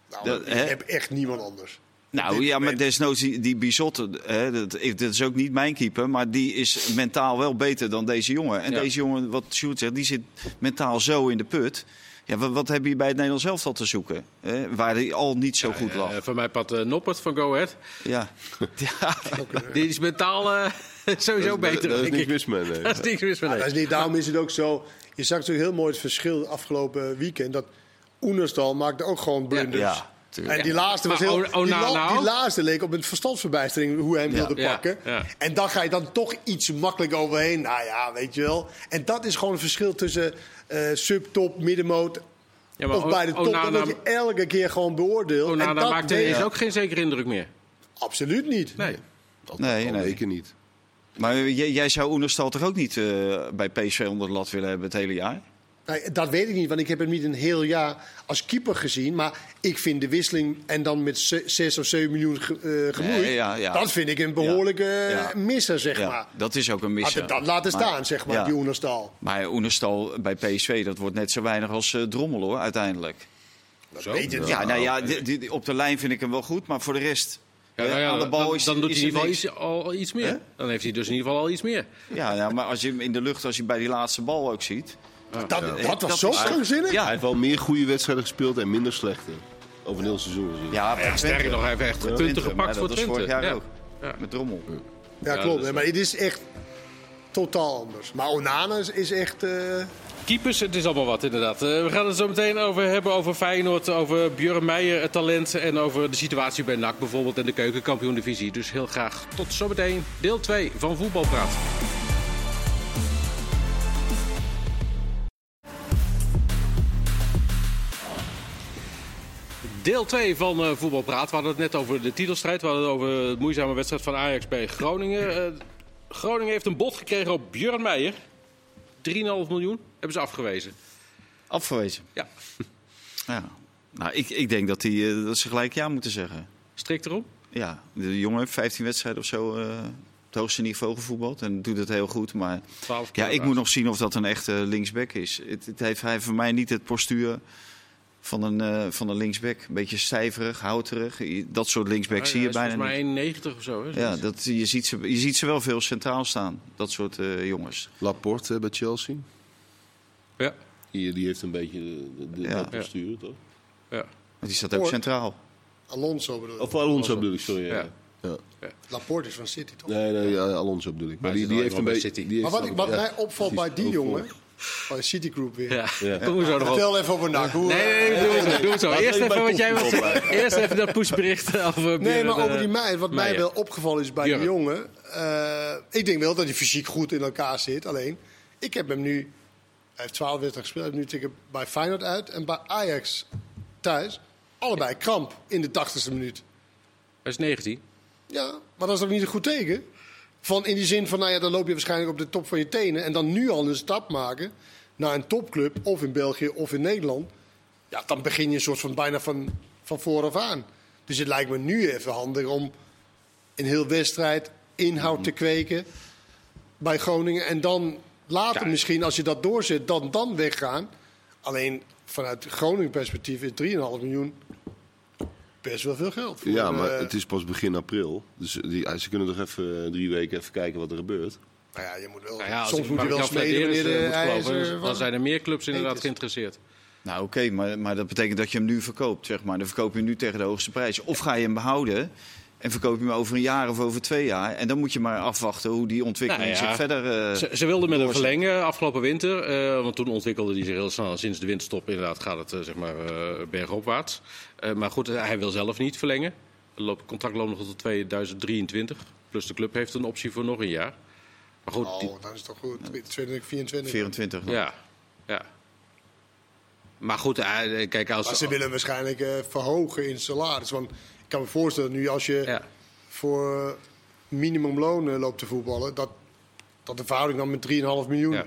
Nou, Dat- ik hè? heb echt niemand anders. Nou ja, maar desnoods die, die Bizotte, hè, dat, dat is ook niet mijn keeper, maar die is mentaal wel beter dan deze jongen. En Ja. deze jongen, wat Sjoerd zegt, die zit mentaal zo in de put. Ja, wat, wat heb je bij het Nederlands elftal te zoeken? Hè, waar hij al niet zo goed lag. Eh, van mij pad eh, Noppert van Go Ahead. Ja. ja. Die is mentaal eh, sowieso dat, beter, Daar is denk niks ik. mis mee. nee. Dat is niks mis mee. Dat is niet, daarom is het ook zo. Je zag natuurlijk heel mooi het verschil afgelopen weekend. Dat Oenerstal maakte ook gewoon blunders. Ja, tuurlijk. en die laatste was Maar heel. O- die, Onana la- die ook? laatste leek op een verstandsverbijstering hoe hij hem wilde Ja, pakken. ja. En dan ga je dan toch iets makkelijk overheen. Nou ja, weet je wel. En dat is gewoon het verschil tussen eh subtop, middenmoot. Ja, maar of bij de O- top. Onana- dat je elke keer gewoon beoordeelt. Onana en dat maakt deed- ineens ook geen zekere indruk meer. Absoluut niet. Nee. Althans, Nee, al nee. weken niet. Maar jij, jij zou Oenerstal toch ook niet eh, bij PSV onder de lat willen hebben het hele jaar? Nou, dat weet ik niet, want ik heb hem niet een heel jaar als keeper gezien. Maar ik vind de wisseling en dan met ze- 6 of 7 miljoen ge, eh, gemoeid. Nee, ja, ja. Dat vind ik een behoorlijke Ja, ja. eh, misser, zeg maar. Ja, dat is ook een missie. Had het dan laten staan, zeg maar, die Oenerstal. Maar Oenerstal bij PSV, dat wordt net zo weinig als eh, Drommel hoor, uiteindelijk. Zo? Weet je, Ja, nou ja, di- di- di- op de lijn vind ik hem wel goed, maar voor de rest. Ja, eh, nou ja, aan de dan, bal dan- is, dan doet hij is in ieder er geval niks. iets, al iets meer. Dan heeft hij dus in ieder geval al iets meer. Ja, ja, maar als je hem in de lucht, als je bij die laatste bal ook ziet. dat, dat was dat zo is- krankzinnig. Hij Ja, heeft wel meer goede wedstrijden gespeeld en minder slechte. Over een heel seizoen gezien. ja, bij Sterker nog, hij heeft echt punten Twente, maar gepakt voor dat was Twente. vorig jaar Ja. ook. Ja. Met Drommel. Ja, Ja, klopt. dat is- maar het is echt totaal anders. Maar Onana is- is echt... eh, Keepers, het is allemaal wat inderdaad. Eh, we gaan het zo meteen over hebben over Feyenoord, over Björn Meijer, het talent en over de situatie bij NAC bijvoorbeeld en de keukenkampioen-divisie. Dus heel graag tot zometeen deel 2 van Voetbalpraat. Deel 2 van eh, Voetbal Praat. We hadden het net over de titelstrijd. We hadden het over de moeizame wedstrijd van Ajax bij Groningen. Eh, Groningen heeft een bod gekregen op Björn Meijer. 3,5 miljoen hebben ze afgewezen. Afgewezen. Ja, Ja. Nou, ik, ik denk dat, die, eh, dat ze gelijk ja moeten zeggen. strikt erom. Ja, de jongen heeft 15 wedstrijden of zo eh, het hoogste niveau gevoetbald. En doet het heel goed. Maar 12 ja, ik keer moet nog zien of dat een echte linksback is. Het, het heeft, hij heeft voor mij niet het postuur van een, eh, van een linksback. Een beetje stijverig, houterig. I- Dat soort linksback zie je bijna niet. maar 1,90 of zo. Hè? Ja, dat, je, ziet ze, je ziet ze wel veel centraal staan. Dat soort eh, jongens. Laporte hè, bij Chelsea. ja. Die, die heeft een beetje de, de, de- Ja. dat bestuur, toch? ja. Want die staat ook Or- centraal. Alonso bedoel ik. Of Alonso bedoel ik, sorry. Ja. Ja. Ja. Laporte is van City, toch? Nee, nee, ja, Alonso bedoel ik. Maar Hij die, zit die al heeft helemaal een bij beetje... City. die Maar heeft wat, ik- wat ja, mij opvalt bij precies, die ook voor. jongen... Bij City Group weer. ja. Kom er zo nog op. Vertel even over NAC. Hoe, Nee, nee, nee, doe het zo, doe het zo. Eerst even even bij wat jij wil Poesbericht zeggen. Eerst even dat pushbericht over Nee, Björn, maar over eh, die meid. Wat mij Meijer. wel opgevallen is bij die Jurre. jongen. eh, ik denk wel dat hij fysiek goed in elkaar zit. Alleen, ik heb hem nu. Hij heeft 12 wedstrijden gespeeld. Hij heeft nu tegen bij Feyenoord uit en bij Ajax thuis. Allebei kramp in de 80ste minuut. Hij is 19. Ja, maar dat is toch niet een goed teken? Van in die zin van, nou ja, dan loop je waarschijnlijk op de top van je tenen. En dan nu al een stap maken naar een topclub, of in België of in Nederland. Ja, dan begin je een soort van bijna van, van vooraf aan. Dus het lijkt me nu even handig om een heel wedstrijd inhoud Mhm. te kweken bij Groningen. En dan later Ja. misschien, als je dat doorzet, dan, dan weggaan. Alleen vanuit Groningen perspectief is 3,5 miljoen best wel veel geld. voor, Ja, maar eh, het is pas begin april. Dus die, ze kunnen toch even eh, drie weken even kijken wat er gebeurt. Nou ja, je moet wel, Nou ja, als soms ik moet je wel Mark-Jan smeden Fladeres, wanneer eh, de moet ijzer geloven, van- Dan zijn er meer clubs inderdaad is. geïnteresseerd. Nou, oké, maar, maar dat betekent dat je hem nu verkoopt, zeg maar. Dan verkoop je hem nu tegen de hoogste prijs. Of ga je hem behouden En verkoop je hem over een jaar of over twee jaar. En dan moet je maar afwachten hoe die ontwikkeling Nou ja, zich verder... eh, Ze, ze wilden met hem doorzet. verlengen afgelopen winter. eh, want toen ontwikkelde hij zich heel snel. Sinds de winterstop inderdaad gaat het eh, zeg maar, eh, bergopwaarts. Eh, maar goed, eh, hij wil zelf niet verlengen. Het contract loopt nog tot 2023. Plus de club heeft een optie voor nog een jaar. Maar goed, die- Oh, dat is toch goed. 2024. 24. Oh. nog. ja, ja. Maar goed, eh, kijk, als... Maar ze willen waarschijnlijk eh, verhogen in salaris. Want ik kan me voorstellen, nu als je Ja. voor eh, minimumloon eh, loopt te voetballen, dat, dat de verhouding dan met 3,5 miljoen Ja.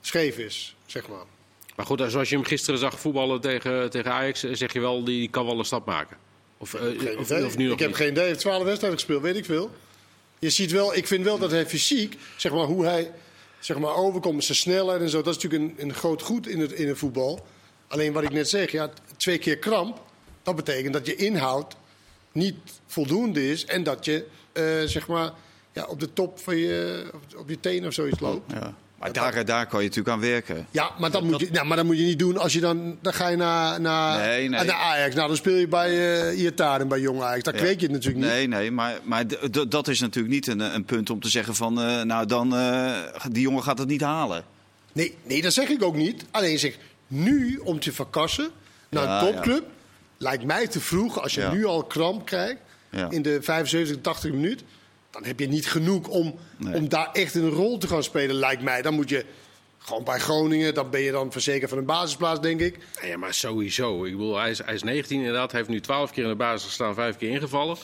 scheef is, zeg maar. Maar goed, eh, zoals je hem gisteren zag voetballen tegen, tegen Ajax... eh, zeg je wel, die kan wel een stap maken. Of, eh, Geen of, idee. of nu nog ik heb niet. geen idee. Hij heeft 12 wedstrijden gespeeld, weet ik veel. Je ziet wel, ik vind wel dat hij fysiek, zeg maar, hoe hij zeg maar, overkomt, zijn snelheid en zo, dat is natuurlijk een, een groot goed in het, in het voetbal. Alleen wat ik net zeg, ja, twee keer kramp, dat betekent dat je inhoud niet voldoende is en dat je eh, zeg maar, ja, op de top van je, op- op je teen of zoiets loopt. Ja. Maar daar, eh, daar kan je natuurlijk aan werken. Ja, maar dat, moet je, nou, maar dat moet je niet doen als je dan... Dan ga je naar, naar, Nee, nee. naar Ajax. Nou, dan speel je bij eh Iataren, bij Jong Ajax. Daar Ja. kweek je het natuurlijk niet. Nee, nee, maar, maar d- d- dat is natuurlijk niet een, een punt om te zeggen van... eh, nou, dan, eh, die jongen gaat het niet halen. Nee, nee, dat zeg ik ook niet. Alleen ik zeg nu om te verkassen naar Ja, een topclub. Lijkt mij te vroeg als je Ja. nu al kramp krijgt Ja. in de 75, 80 minuut. Dan heb je niet genoeg om, Nee. om daar echt een rol te gaan spelen, lijkt mij. Dan moet je gewoon bij Groningen, dan ben je dan verzekerd van een basisplaats, denk ik. Nou Ja, maar sowieso. Ik bedoel, hij is, hij is 19 inderdaad. Hij heeft nu 12 keer in de basis gestaan, 5 keer ingevallen.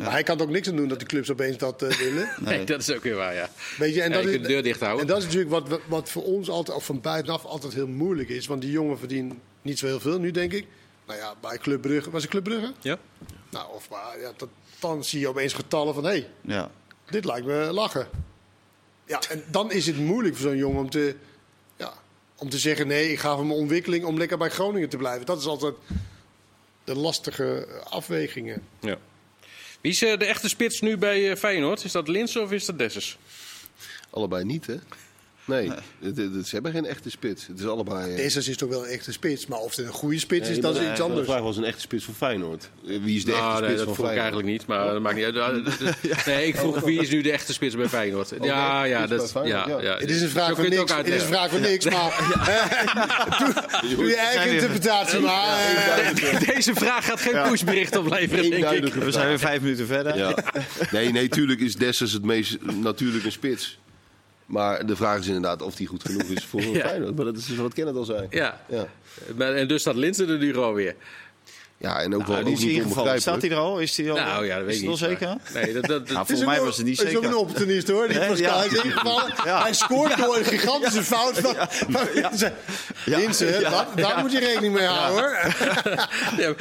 Maar hij kan er ook niks aan doen dat die clubs opeens dat eh, willen. Nee, dat is ook weer waar, ja. Weet je, en Ja, dat je is, kunt de deur dicht houden. En dat is natuurlijk wat, we- wat voor ons altijd, of van buitenaf altijd heel moeilijk is. Want die jongen verdient niet zo heel veel nu, denk ik. Nou ja, bij Club Brugge. Was het Club Brugge? Ja? Nou, of maar, ja, dat, dan zie je opeens getallen van, hé, hey, Ja. dit lijkt me lachen. Ja, en dan is het moeilijk voor zo'n jongen om te, ja, om te zeggen, nee, ik ga voor mijn ontwikkeling om lekker bij Groningen te blijven. Dat is altijd de lastige eh, afwegingen. ja. Wie is eh, de echte spits nu bij eh, Feyenoord? Is dat Linsen of is dat Dessers? Allebei niet, hè? Nee, het- het- ze hebben geen echte spits. Het is allebei... eh, Deze is toch wel een echte spits, maar of het een goede spits is, dat is iets De anders. vraag was een echte spits voor Feyenoord. eh, Wie is de echte Ah, nee, spits dat van vroeg ik Feyenoord? Oh. eigenlijk niet, maar dat maakt niet uit. Nee, ik vroeg wie is nu de echte spits bij Feyenoord? Ja, ja, spits dat... bij Ja, Feyenoord, ja. ja. dus Het is een Zo vraag kun voor je het niks. ook Het is een uitleggen. vraag voor niks, maar. eh, doe, doe je eigen zijn hier. interpretatie maar. eh. Deze vraag gaat geen pushbericht opleveren, denk ik. Eenduidige We zijn weer vijf minuten verder. Ja. Nee, nee, tuurlijk is Dessers het meest natuurlijk een spits. Maar de vraag is inderdaad of die goed genoeg is voor een Ja. Feyenoord. Maar dat is dus wat Kenneth al zei. Ja. Ja, Maar- En dus staat Linsen er nu gewoon weer. ja en ook Nou, wel die ook is in niet geval. Staat hij onbegrijpelijk. er al? Is Oh. hij al? Nou ja, dat weet is ik het niet. al zeker? maar- Nee, dat... dat, Nou, dat volgens Het mij is ook was het niet wel- Het is zeker. ook een opportunist hoor, die Hè? Pascal Ja. is ingevallen. Ja. Hij scoort door een gigantische fout. Van, van mensen. Mensen, Ja. daar, daar moet je rekening mee houden hoor. ja,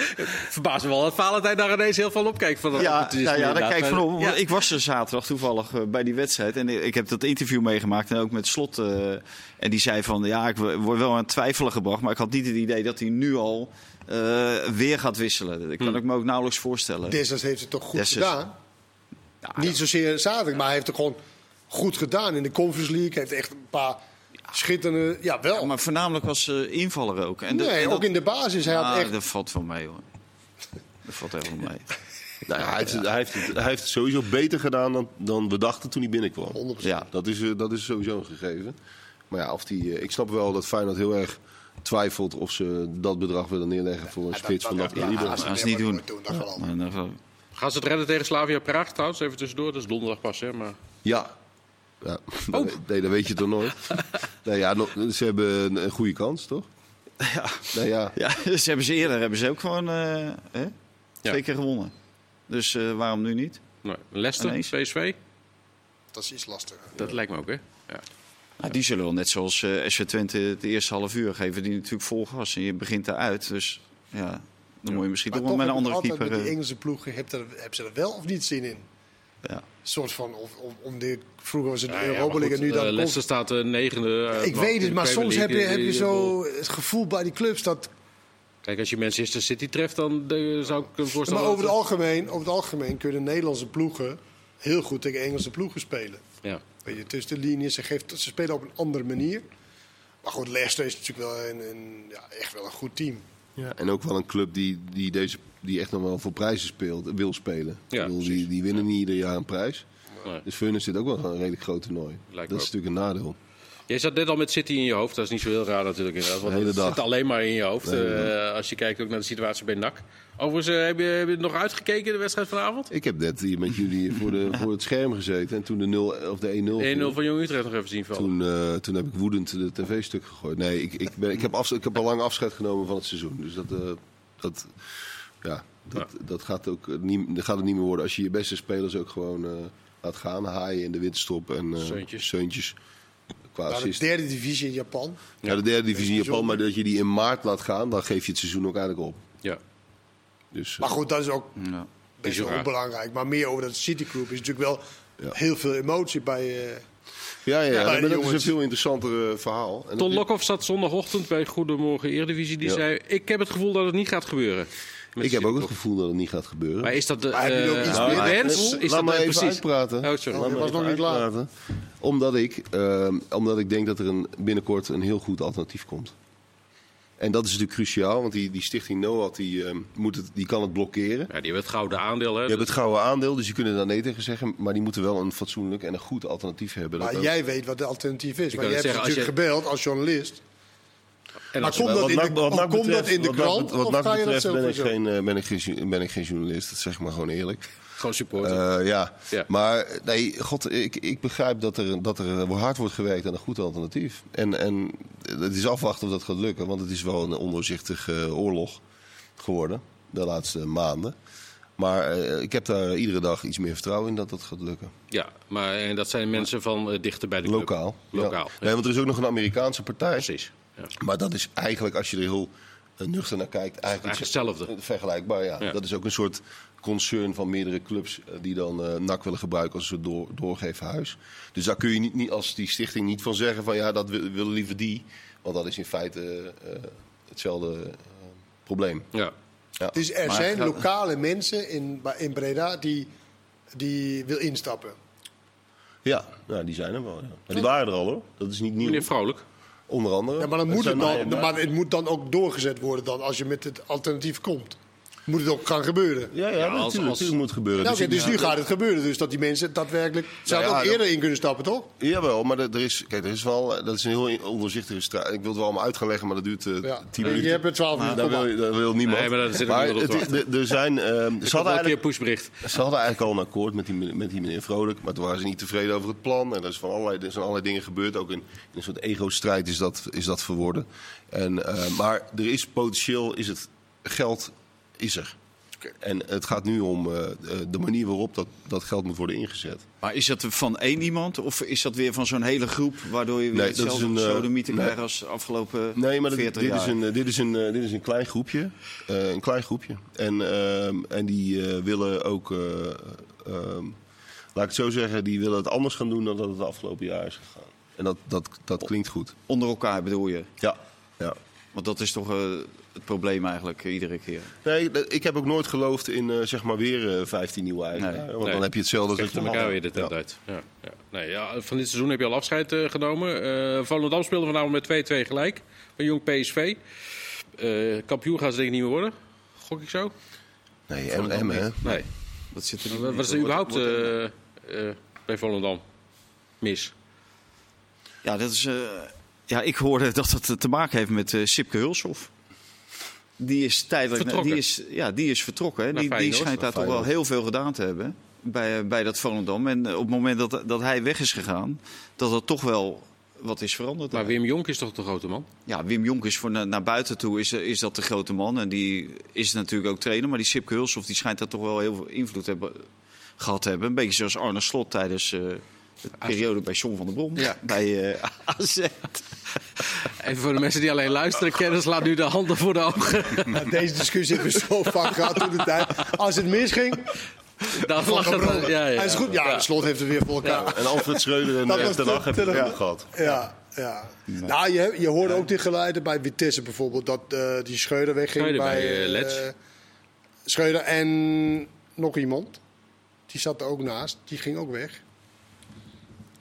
verbaas me wel dat Valentijn daar ineens heel veel op kijkt. Van dat Ja, opportunisme nou ja, daar inderdaad. kijk ik van Maar- op. Ja. Want Ik was er zaterdag toevallig eh, bij die wedstrijd. En ik heb dat interview meegemaakt. En ook met Slot. eh, en die zei van, ja, ik word wel aan het twijfelen gebracht. Maar ik had niet het idee dat hij nu al eh, weer gaat wisselen. Ik Hm. kan ik me ook nauwelijks voorstellen. Dessers heeft het toch goed Dessers. gedaan? Niet zozeer zaterdag, maar hij heeft het gewoon goed gedaan in de Conference League. Hij heeft echt een paar schitterende. Ja, wel. Maar voornamelijk was eh, invaller ook. En dat- nee, en ook dat- in de basis. Hij had Ah, echt. Dat valt wel mee, hoor. Dat valt echt wel mee. Nou, ja, hij, heeft, hij, heeft het, hij heeft het sowieso beter gedaan dan, dan we dachten toen hij binnenkwam. 100%. Ja. Dat is, eh, dat is sowieso een gegeven. Maar ja, of die, eh, ik snap wel dat Feyenoord heel erg twijfelt of ze dat bedrag willen neerleggen voor een spits van dat kaliber. dat gaan ze niet doen. dat geloof ik. Maar dan geloof ik- Gaan ze het redden tegen Slavia Praag trouwens? Even tussendoor, dat is donderdag pas, hè? Maar... Ja. ja. Nee, dat weet je toch nooit. nee, ja, nog- ze hebben een, een goede kans, toch? Ja. Nou ja. Ja, ze hebben ze eerder hebben ze ook gewoon eh, hè? twee keer gewonnen. Dus eh, waarom nu niet? Nee. Leicester, Ineens. PSV? Dat is iets lastiger. Dat lijkt me ook, hè? Ja. Nou, die zullen wel net zoals eh SV Twente het eerste half uur geven. Die natuurlijk vol gas. En je begint daaruit. Dus ja, dan moet je misschien Maar toch wel toch met een heb ik andere altijd keeper. Met die eh, Engelse ploegen heb, er, heb ze er wel of niet zin in. ja. Een soort van, of, of, om de, vroeger was het de Ja, ja, Europa maar League en goed, nu dan... eh, Leicester Conference. staat de negende. eh, ik blad in weet de het, maar Premier soms heb je, League, eh, heb je die- zo het gevoel bij die clubs dat... Kijk, als je Manchester City treft, dan eh, zou ik hem voorstellen... Maar over het, dat- algemeen, over het algemeen kunnen Nederlandse ploegen heel goed tegen Engelse ploegen spelen. Ja. Weet je, tussen de linies, ze, geeft, ze spelen op een andere manier. Maar goed, Leicester is natuurlijk wel een, een, ja, echt wel een goed team. Ja. En ook wel een club die, die, deze, die echt nog wel voor prijzen speelt, wil spelen. Ja, Ik bedoel, die, die winnen niet ieder jaar een prijs. Nee. Dus voor hun is dit ook wel een redelijk groot toernooi. Lijkt me dat is ook. natuurlijk een nadeel. Jij zat net al met City in je hoofd. Dat is niet zo heel raar natuurlijk inderdaad. Want De hele het dag. zit alleen maar in je hoofd. De hele eh, als je kijkt ook naar de situatie bij NAC. Overigens, eh, heb, je, heb je het nog uitgekeken, de wedstrijd vanavond? 1-0 Ik heb net hier met jullie voor, de, voor het scherm gezeten. En toen de 0 of de 1-0. viel, van Jong Utrecht nog even zien vallen. Toen, eh, toen heb ik woedend de tv-stuk gegooid. Nee, ik, ik, ben, ik, heb afs- ik heb al lang afscheid genomen van het seizoen. Dus dat, eh, dat, ja, dat, dat gaat, ook eh, niet, dat gaat het niet meer worden. Als je je beste spelers ook gewoon eh, laat gaan. Haaien in de winterstop en eh Zeuntjes. Zeuntjes. Qua Nou, de assist. derde divisie in Japan. Ja, de derde divisie in Japan. Bijzonder. Maar dat je die in maart laat gaan, dan geef je het seizoen ook eigenlijk op. Ja. Dus, eh, Maar goed, dat is ook Ja. Is best wel raar. onbelangrijk. Maar meer over dat City Group is natuurlijk wel Ja. heel veel emotie bij. eh ja, ja, ja, bij de maar dat is een jongens. veel interessanter eh, verhaal. En Ton dat- Lokhoff zat zondagochtend bij Goedemorgen Eredivisie. Die Ja. zei, ik heb het gevoel dat het niet gaat gebeuren. Met Ik heb ook het City. gevoel dat het niet gaat gebeuren. Maar is dat de Maar heb je er ook eh, iets de meer- wens? Is Nou, Laat dat me eh, even precies? uitpraten. Oh, sorry. Laat me was even nog niet klaar. uitpraten. Omdat ik, ehm, omdat ik denk dat er een, binnenkort een heel goed alternatief komt. En dat is natuurlijk cruciaal, want die, die stichting NOAD die, ehm, moet het, die kan het blokkeren. Ja, die hebben het gouden aandeel. Hè? Je hebt het gouden aandeel, dus je kunt er dan nee tegen zeggen. Maar die moeten wel een fatsoenlijk en een goed alternatief hebben. Dat maar ook- jij weet wat de alternatief is. Maar wou jij hebt net zeggen, als natuurlijk gebeld als journalist. En maar als- komt dat in NAC- de, of NAC komt dat in de wat NAC krant? bet- Wat of NAC ga je dat betreft zelf ben ik verzorgen? geen... En, eh, ben, ik geen, ju- ben ik geen journalist, dat zeg ik maar gewoon eerlijk. Gewoon supporter. Eh, ja. Ja. maar nee, god, ik, ik begrijp dat er, dat er hard wordt gewerkt aan een goed alternatief. En, en het is afwachten of dat gaat lukken, want het is wel een ondoorzichtige eh, oorlog geworden de laatste maanden. Maar eh, ik heb daar iedere dag iets meer vertrouwen in dat dat gaat lukken. ja, maar en dat zijn mensen van eh, dichter bij de club. Lokaal. Lokaal. Ja. Nee, want er is ook nog een Amerikaanse partij. Precies. Ja. Maar dat is eigenlijk, als je er heel eh, nuchter naar kijkt, eigenlijk, eh, Eigenlijk hetzelfde. Vergelijkbaar, ja. Ja. Dat is ook een soort concern van meerdere clubs eh, die dan eh, NAC willen gebruiken als een door, doorgeefhuis. Dus daar kun je niet, niet als die stichting niet van zeggen van ja, dat wil- willen liever die. Want dat is in feite eh, eh, hetzelfde eh, probleem. Ja. Dus er Maar zijn gaat- lokale mensen in, in Breda die, die wil instappen. Ja, nou, die zijn er wel. ja. Maar die waren er al hoor. Dat is niet nieuw. Meneer Vrolijk. Onder andere. Ja, maar, dan Dat moet zijn het dan, wij, maar- maar het moet dan ook doorgezet worden dan, als je met het alternatief komt. Moet het ook gaan gebeuren. Ja, ja, als- natuurlijk. als- natuurlijk moet het gebeuren. Nou, Dus oké, ik- dus nu gaat het gebeuren. Dus dat die mensen daadwerkelijk... Ze Nou hadden ja, ook dat- eerder in kunnen stappen, toch? Jawel, maar er er is, kijk, er is wel, eh, dat is een heel in- ondoorzichtige straat. Ik wil het wel allemaal uit gaan leggen, maar dat duurt eh, Ja. 10 Je minuten. hebt er 12 minuten Daar op. wil, je- daar wil niemand. Nee, maar daar zit ik ook wel op het, te is- er- er zijn, ehm, ze, Zal hadden een keer eigenlijk, pushbericht. ze hadden eigenlijk al een akkoord met die, meneer- met die meneer Vrolijk. Maar toen waren ze niet tevreden over het plan. En er, is van allerlei, er zijn allerlei dingen gebeurd. Ook in, in een soort ego-strijd is dat, is dat verworden. En, eh, maar er is potentieel, is het geld is er. En het gaat nu om eh, eh, de manier waarop dat, dat geld moet worden ingezet. Maar is dat van één iemand of is dat weer van zo'n hele groep... waardoor je weer Nee, dat is hetzelfde een, eh, sodemieten nee. krijgt als de afgelopen Nee, maar dit, 40 dit jaar? is een, eh, dit, is een, eh, dit is een klein groepje. Eh, een klein groepje. En, ehm, en die eh, willen ook, eh, ehm, laat ik het zo zeggen, die willen het anders gaan doen dan dat het de afgelopen jaar is gegaan. En dat, dat, dat klinkt goed. Onder elkaar bedoel je? Ja. ja. Want dat is toch eh, het probleem eigenlijk eh, iedere keer. Nee, d- ik heb ook nooit geloofd in eh, zeg maar weer eh, 15 nieuwe eigenaren. Nee. Want Nee. dan heb je hetzelfde als Echt het met we elkaar hadden. weer de tent Ja. uit. Ja, ja. Nee, ja, van dit seizoen heb je al afscheid eh, genomen. Eh Volendam speelde vanavond met 2-2 gelijk. Van jong PSV. Eh, kampioen gaan ze denk ik niet meer worden. Gok ik zo? Nee, en, en, hè? Nee. Dat zit er niet Wat in. is er überhaupt Wordt- wordt- eh, eh, bij Volendam mis? Ja, dat is, eh, ja, ik hoorde dat dat te maken heeft met eh Sipke Hulshoff. Die is tijdelijk Vertrokken. Die is, ja, die is vertrokken. hè. Naar Die, die Feyenoord. schijnt daar Naar toch wel heel Feyenoord. veel gedaan te hebben. Bij, eh, bij dat Volendam. En eh, op het moment dat, dat hij weg is gegaan, dat er toch wel wat is veranderd. Maar Wim Jonk is toch de grote man? Ja, Wim Jonk is voor na- naar buiten toe is, is dat de grote man. En die is natuurlijk ook trainer. Maar die Sipke Hulshoff die schijnt daar toch wel heel veel invloed te hebben, gehad te hebben. Een beetje zoals Arne Slot tijdens eh, de periode bij John van der Brom. Ja. Bij eh AZ. Even voor de mensen die alleen luisteren. Kennis laat nu de handen voor de ogen. Nou, Deze discussie hebben we zo vaak gehad toen de tijd. Als het misging, Daar dan lag het al. Ja, ja, Hij is goed. Ja, de slot heeft het weer voor elkaar. En Alfred Schreuder en Dat eh, was Ten de- Hag hebben Ten het Hag. ook gehad. Ja, ja. Nou, je, je hoorde ook die geluiden bij Vitesse bijvoorbeeld. Dat eh, die Schreuder wegging Schreuder bij... bij, eh, eh, Lets. Schreuder en nog iemand. Die zat er ook naast. Die ging ook weg.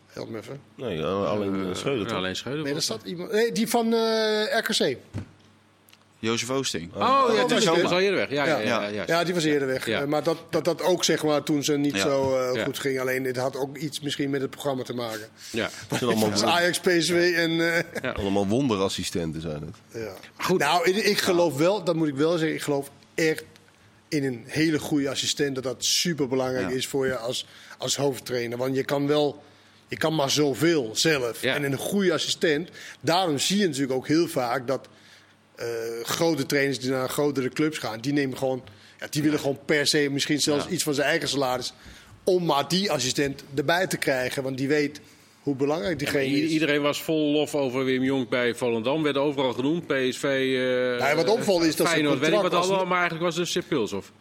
Help me even. Nee, alleen eh, Schreuder Ja, toch? alleen Schreuder. Nee, er zat iemand... Nee, die van eh, RKC. Jozef Oosting. Oh, ja, dat die is is het. al eerder weg. Ja, ja, ja, Ja. juist. Ja, die was eerder weg. Ja. Eh, maar dat, dat dat ook, zeg maar, toen ze niet Ja. zo eh, Ja. goed ging. Alleen, dit had ook iets misschien met het programma te maken. ja. Het zijn allemaal, Dus Ajax, PSV en... eh, Allemaal wonderassistenten zijn het. Ja. Goed. Nou, ik, ik geloof wel, dat moet ik wel zeggen, ik geloof echt in een hele goede assistent. Dat dat super belangrijk Ja. is voor je als, als hoofdtrainer. Want je kan wel, je kan maar zoveel zelf. Ja. En een goede assistent, daarom zie je natuurlijk ook heel vaak dat eh, grote trainers die naar grotere clubs gaan, die nemen gewoon, ja, die willen gewoon per se misschien zelfs iets van zijn eigen salaris. Om maar die assistent erbij te krijgen, want die weet hoe belangrijk diegene I- is. Iedereen was vol lof over Wim Jong bij Volendam. Werd overal genoemd. PSV, eh Nou, wat opvalt is dat zijn Feyenoord, weet ik wat contract was- allemaal. Maar eigenlijk was het een Sip Pulsof.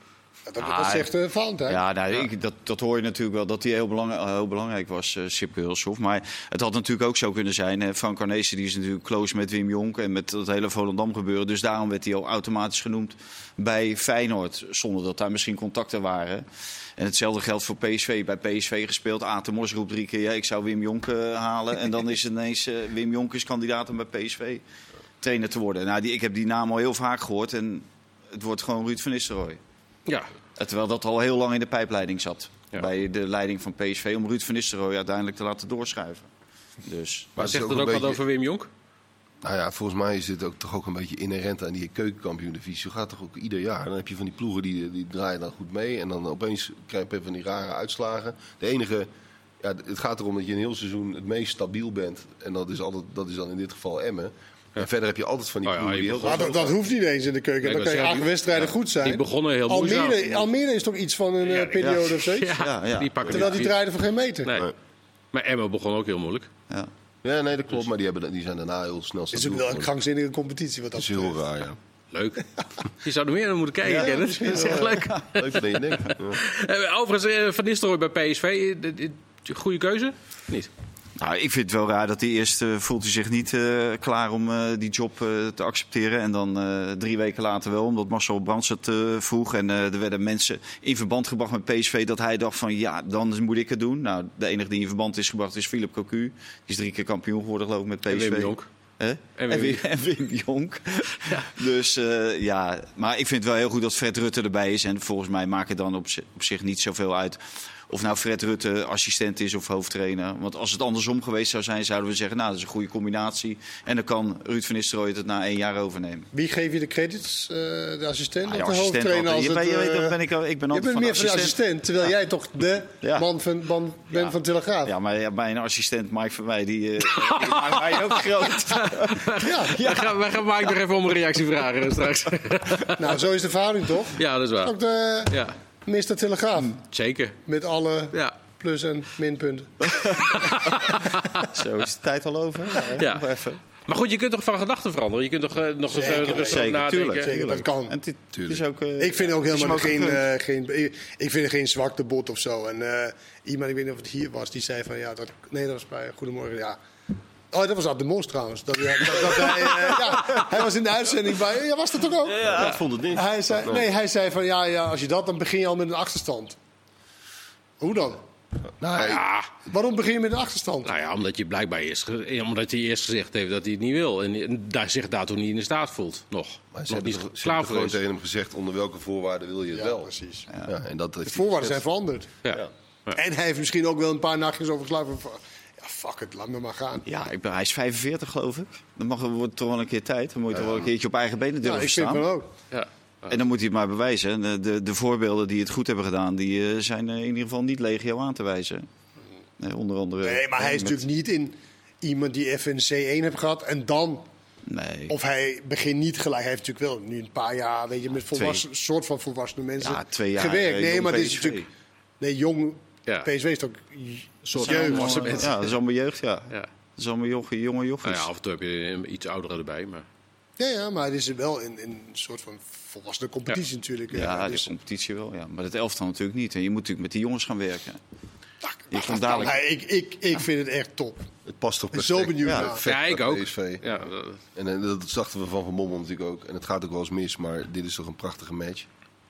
Dat, dat Ah, zegt eh, Valentijn. Ja, nou, ik- dat, dat hoor je natuurlijk wel, dat hij heel, belang- heel belangrijk was, eh Sip Hulshoff. Maar het had natuurlijk ook zo kunnen zijn. Hè, Frank Arnezen die is natuurlijk close met Wim Jonk en met dat hele Volendam gebeuren. Dus daarom werd hij al automatisch genoemd bij Feyenoord. Zonder dat daar misschien contacten waren. En hetzelfde geldt voor PSV. Bij PSV gespeeld, Atemos roept drie keer... Ja, ik zou Wim Jonk eh, halen. En dan is het ineens eh, Wim Jonk is kandidaat om bij PSV trainer te worden. Nou, die, ik heb die naam al heel vaak gehoord en het wordt gewoon Ruud van Nistelrooy. Ja, Eh, Terwijl dat al heel lang in de pijpleiding zat. Ja. Bij de leiding van PSV. Om Ruud van Nistelrooy uiteindelijk te laten doorschuiven. Dus. maar het is zegt dat ook een ook wat beetje- over Wim Jong? Nou ja, volgens mij is dit ook, toch ook een beetje inherent aan die keukenkampioen-divisie. Zo gaat toch ook ieder jaar. Dan heb je van die ploegen die, die draaien dan goed mee. En dan opeens krijg je van die rare uitslagen. De enige, ja, het gaat erom dat je een heel seizoen het meest stabiel bent. En dat is, altijd, dat is dan in dit geval Emmen. En verder heb je altijd van die Oh ja, ploegen je die wilt Maar dat, dat hoeft niet eens in de keuken. Nee, dan ik kan je wou acht zeggen, wedstrijden goed zijn. die begonnen heel Almere, moeizaam. Almere is toch iets van een eh, periode of zoiets? Ja, Ja, ja. die pakken Terwijl die niet. draaiden voor geen meter. Nee. Maar Emma begon ook heel moeilijk. Ja. Ja, nee, dat klopt. Maar die, hebben, die zijn daarna heel snel Het stabiel. is ook wel een geworden. krankzinnige competitie wat dat Dat is heel betreft. raar, ja. Leuk. Je zou er meer naar moeten kijken, Kenneth. Dat is echt leuk. Leuker dan je denkt. Ja. Eh, Overigens, eh, Van Nistelrooy bij PSV. eh, dit- dit- Goede keuze? Niet. Nou, ik vind het wel raar dat hij eerst eh, voelt hij zich niet eh, klaar om eh, die job eh, te accepteren. En dan eh, drie weken later wel, omdat Marcel Brands het eh, vroeg. En eh, er werden mensen in verband gebracht met PSV dat hij dacht van ja, dan moet ik het doen. Nou, de enige die in verband is gebracht is Philip Cocu. Die is drie keer kampioen geworden geloof ik met PSV. En Wim Jonk. Hè? En Wim En, Wim, Jonk. en Wim Jonk. Dus eh, ja, maar ik vind het wel heel goed dat Fred Rutte erbij is. En volgens mij maakt het dan op, zi- op zich niet zoveel uit of nou Fred Rutte assistent is of hoofdtrainer. Want als het andersom geweest zou zijn, zouden we zeggen... nou, dat is een goede combinatie. En dan kan Ruud van Nistelrooy het na één jaar overnemen. Wie geef je de credits? Eh, de assistent Ah, ja, of de assistent hoofdtrainer? altijd. als Je het, weet- je weet, eh, dat ben ik al- ik ben je altijd bent van meer van de assistent. assistent, terwijl jij toch de Ja. man, van, man bent Ja. van Telegraaf. Ja, maar ja, mijn assistent Mike van mij, die, eh, die maakt mij ook groot. Wij gaan, wij gaan Mike nog even om een reactie vragen eh, straks. Nou, zo is de verhouding toch? ja, dat is waar. Ook de Ja, Mr. Telegraaf. zeker. Met alle Ja. plus- en minpunten. Zo is de tijd al over. Ja. nog even. Maar goed, je kunt toch van gedachten veranderen? Je kunt toch eh, nog eens eh, rustig zeker, nadenken? tuurlijk, Zeker, dat kan. En het, het is ook... eh, Ik vind ook het is helemaal hem geen, gegund. eh, geen, ik- ik vind het geen zwakte bot of zo. En eh, iemand, ik weet niet of het hier was, die zei van ja, dat, nee, dat was bij Goedemorgen. Ja. Oh, dat was Ad de Mos trouwens. Dat, ja, dat, dat hij, eh, ja, hij was in de uitzending bij. Ja, was dat toch ook? ja, ik vond het niet. Hij zei, nee, hij zei van ja, ja, als je dat, dan begin je al met een achterstand. Hoe dan? Nou, ik- Ja, Waarom begin je met een achterstand? nou ja, omdat, je blijkbaar eerst, ge- eh, omdat hij eerst gezegd heeft dat hij het niet wil. En eh, daar zich daartoe niet in de staat voelt. Nog. Maar ze nog hebben niet toch- ze klaar voor hebben gewoon is. tegen hem gezegd onder welke voorwaarden wil je het Ja, wel. precies. Ja. en dat De heeft hij voorwaarden zijn veranderd. Ja. En hij heeft misschien ook wel een paar nachtjes over geslapen. van, Ja, fuck het, laat me maar gaan. Ja, ik ben, hij is 45 geloof ik. Dan mag, wordt toch wel een keer tijd. Dan moet je toch wel een keertje op eigen benen Ja, durven ik vind staan. het ook. Ja. En dan moet hij het maar bewijzen. En eh, de, de voorbeelden die het goed hebben gedaan, die eh, zijn eh, in ieder geval niet legio aan te wijzen. Nee, onder andere. Nee, maar hij is met- natuurlijk niet in iemand die even een C1 heeft gehad en dan. Nee. Of hij begint niet gelijk. Hij heeft natuurlijk wel nu een paar jaar, weet je, met volwassen, soort van volwassene mensen Ja, twee jaar, gewerkt. eh, Nee, jong maar dit is PSV. natuurlijk. Nee, jong Ja. PSV is toch soort Ja, jeugd. allemaal, Ja, dat is allemaal jeugd, ja. Ja. Dat is allemaal jochie, jonge Nou ja, jochies. af en toe heb je eh, iets ouderen erbij. Maar... Ja, ja, maar het is wel in, in een soort van volwassene competitie natuurlijk. Ja, Ja, de dus- competitie wel, ja. Maar het elftal natuurlijk niet. En je moet natuurlijk met die jongens gaan werken. Je komt Ja, dadelijk... ik, ik, ik vind het echt top. Het past toch Ik ben zo perfect. benieuwd Ja. naar. Vet Ja, ik bij ook. PSV. Ja, dat- En, eh, dat dachten we van Van Bommel natuurlijk ook. En het gaat ook wel eens mis, maar dit is toch een prachtige match.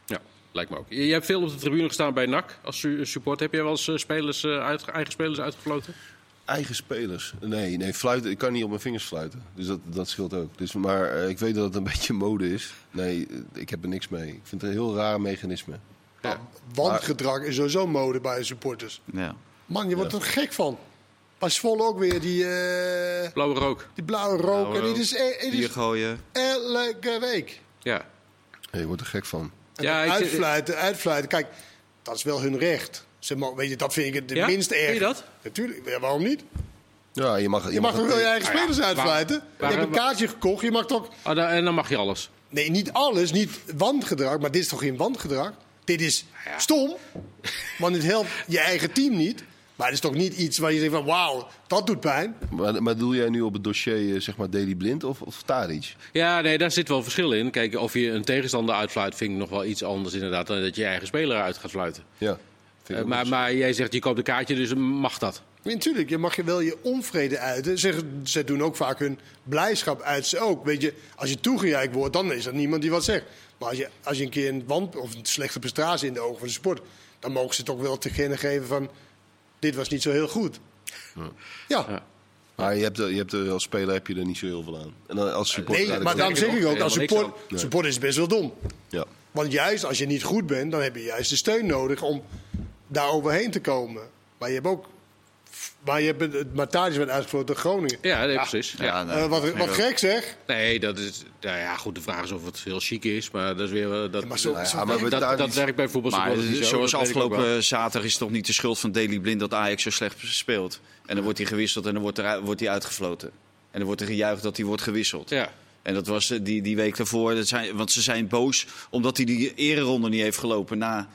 ja, lijkt me ook. Je je hebt eh, veel op de tribune gestaan bij NAC als su- support. Heb jij wel eens eh, spelers, eh, uit- eigen spelers uitgefloten? Eigen spelers. Nee, nee, fluiten. Ik kan niet op mijn vingers fluiten. Dus dat, dat scheelt ook. Dus, maar eh, ik weet dat het een beetje mode is. Nee, eh, ik heb er niks mee. Ik vind het een heel raar mechanisme. Want gedrag is sowieso mode bij supporters. Ja. Man, je wordt er gek van. Bij Zwolle ook weer die, eh, Blauwe rook. die blauwe rook. Blauwe en dit rook. is, eh, dit Bier is gooien. elke week. Ja. Nee, je wordt er gek van. En Ja, ik- uitfluiten, uitfluiten. Kijk, dat is wel hun recht. Zeg maar, weet je, dat vind ik het de Ja? minst erg. Vind je dat? Natuurlijk. Ja, waarom niet? Ja, je mag, Je mag toch wel je eigen ja, spelers waar- uitfluiten? waar- je hebt een kaartje gekocht. Je mag toch... Ah, da- en dan mag je alles. Nee, niet alles. Niet wangedrag. Maar dit is toch geen wangedrag? Dit is Nou stom. Want het helpt je eigen team niet. Maar het is toch niet iets waar je zegt van... Wauw, dat doet pijn. Maar, maar doe jij nu op het dossier, eh, zeg maar, Daily Blind of, of Taric? Ja, nee, daar zit wel verschil in. Kijk, of je een tegenstander uitfluit, vind ik nog wel iets anders inderdaad... dan dat je je eigen speler uit gaat fluiten. Ja. Eh, maar, maar jij zegt, je koopt een kaartje, dus mag dat. Natuurlijk, je mag je wel je onvrede uiten. Ze, ze doen ook vaak hun blijdschap uit. Ze ook. Weet je, als je toegejuicht wordt, dan is er niemand die wat zegt. Maar als je, als je een keer een, wand, of een slechte prestatie in de ogen van de sport... dan mogen ze toch wel te kennen geven van... dit was niet zo heel goed. Ja, maar je hebt, er- je hebt er, als speler heb je er niet zo heel veel aan. En dan als supporter... nee, eigenlijk maar daarom ook. zeg ik ook, als Helemaal niks support, support is best wel dom. Ja. Want juist als je niet goed bent, dan heb je juist de steun nodig om daar overheen te komen. Maar je hebt ook... Maar je hebt het Matthijs werd uitgesproken door Groningen. Ja, nee, precies. Ja. Ja, nou, Eh, wat vind ik wat ook. gek zeg. Nee, dat is... Nou ja, goed, de vraag is of het heel chic is, maar dat is weer... eh, Dat, Ja, maar zo, Nou zo ja, maar werkt we dat, dat, Tadic- werkt bij voetbal Maar supporters niet zo, zoals dat weet ik ook wel. afgelopen zaterdag is het toch niet de schuld van Daily Blind dat Ajax zo slecht speelt. En dan wordt hij gewisseld en dan wordt, er, wordt hij uitgefloten. En dan wordt er gejuicht dat hij wordt gewisseld. Ja. En dat was eh, die, die week daarvoor. Dat zijn, want ze zijn boos omdat hij die ereronde niet heeft gelopen na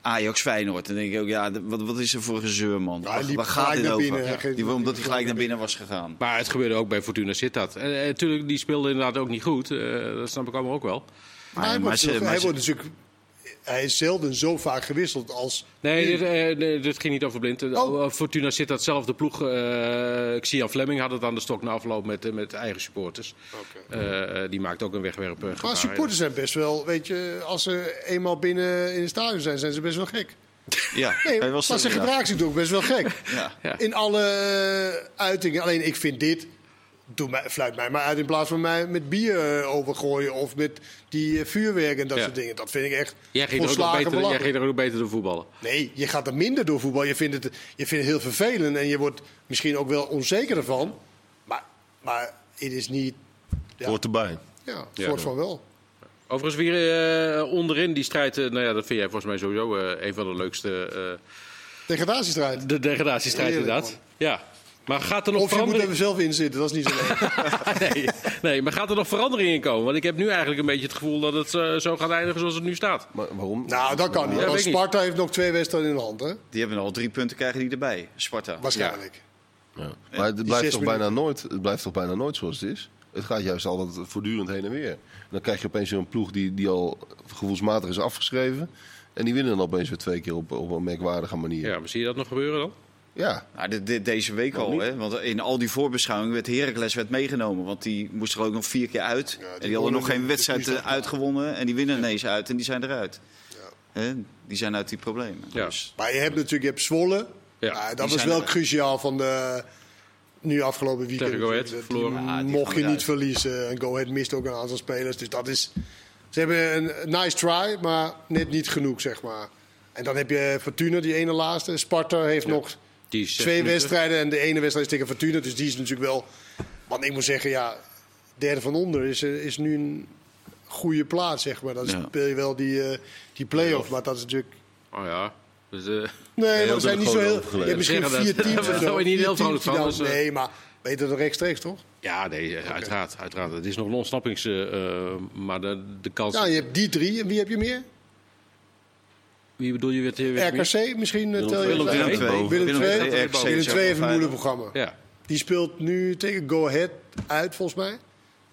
Ajax Feyenoord. En dan denk ik ook, ja, d- wat, wat is er voor gezeur, man? hij Waar- liep Waar gaat gelijk dit naar over? binnen, hè? Geen- Die, omdat hij gelijk naar binnen was gegaan. Maar het gebeurde ook bij Fortuna Sittard. En eh, natuurlijk, die speelde inderdaad ook niet goed. Eh, dat snap ik allemaal ook wel. Maar hij, maar wordt, ze- natuurlijk- maar hij ze- wordt natuurlijk. Hij is zelden zo vaak gewisseld als. Nee, nu. dit, eh, nee, dit ging niet over blind. Eh, Oh. Fortuna zit dat zelf de ploeg. eh Xian Fleming had het aan de stok na afloop met, eh, met eigen supporters. Eh, eh, die maakt ook een wegwerp. eh, gebaar. maar supporters zijn best wel, weet je, als ze eenmaal binnen in het stadion zijn, zijn ze best wel gek. Ja, Nee, hij maar was ze er- ja. gedragen zich ook best wel gek. Ja. Ja. In alle eh, uitingen. Alleen ik vind dit, doe mij, fluit mij maar uit in plaats van mij met bier eh, overgooien of met die eh, vuurwerk en dat Ja. soort dingen. Dat vind ik echt Jij ging, er ook nog volslagen beter, jij belachelijk. ging er ook nog beter door voetballen. Nee, je gaat er minder door voetbal. Je vindt, het, je vindt het heel vervelend en je wordt misschien ook wel onzeker ervan. Maar, maar het is niet. Ja, Hoort erbij. ja, Ja. soort van wel. Overigens, weer eh, onderin die strijd. eh, nou ja, dat vind jij volgens mij sowieso eh, een van de leukste. eh, Degradatiestrijd. de degradatiestrijd, Heerlijk, inderdaad. Ja. Maar gaat er nog Of je moet verandering- er zelf in zitten, dat is niet zo leuk. nee, nee, maar gaat er nog verandering in komen? Want ik heb nu eigenlijk een beetje het gevoel dat het eh, zo gaat eindigen zoals het nu staat. Maar waarom? nou, dat kan niet. Ja, Want weet ik Sparta heeft nog twee wedstrijden in de hand, hè? Die hebben al drie punten krijgen die erbij. Sparta. Waarschijnlijk. Ja. Maar het blijft, zes toch bijna nooit, het blijft toch bijna nooit zoals het is? Het gaat juist altijd voortdurend heen en weer. En dan krijg je opeens weer een ploeg die, die al gevoelsmatig is afgeschreven. En die winnen dan opeens weer twee keer op, op een merkwaardige manier. Ja. Ja, maar zie je dat nog gebeuren dan? Nou, dit- dit- deze week al, hè? want in al die voorbeschouwingen werd Heracles werd meegenomen. Want die moest er ook nog vier keer uit. en die hadden wonnen nog geen de- wedstrijd de- eh, uitgewonnen. En die winnen ineens uit en die zijn eruit. Hè? Die zijn uit die problemen. Ja. Dus, Maar je hebt natuurlijk je hebt Zwolle. Ja, Nou, die dat was zijn wel er. cruciaal van de. Nu afgelopen weekend. Tegen Go Ahead Die verloren. Ja, die gaan mocht je niet eruit. verliezen. En Go Ahead mist ook een aantal spelers. Dus dat is. Ze hebben een nice try, maar net niet genoeg, zeg maar. En dan heb je Fortuna, die ene laatste. Sparta heeft nog Die is zes twee minuten. wedstrijden. En de ene wedstrijd is tegen Fortuna. Dus die is natuurlijk wel. Want ik moet zeggen, ja. Derde van onder is, eh, is nu een goede plaats, zeg maar. Dan Ja. speel je wel die, eh die play-off. Maar dat is natuurlijk. Oh ja. Dus, eh, Nee, maar heel er zijn niet zo veel heel. overgeleden. Je hebt misschien Zeggen vier dat. teams. Daar of zo. word je niet Vier heel vrolijk teams die van, dan- dus, eh. Nee, maar beter dan rechtstreeks, toch? ja, nee, eh, uiteraard, uiteraard. Het is nog een ontsnappings... eh, eh, maar de, de kans... Ja, je hebt die drie. En wie heb je meer? Wie bedoel je weer? weer- RKC misschien? eh, tel je Willem dat Willem uit. twee. Willem Willem twee. twee, Willem RKC II is ook wel heeft een moeilijk veilig. programma. Ja. Die speelt nu tegen Go Ahead uit, volgens mij.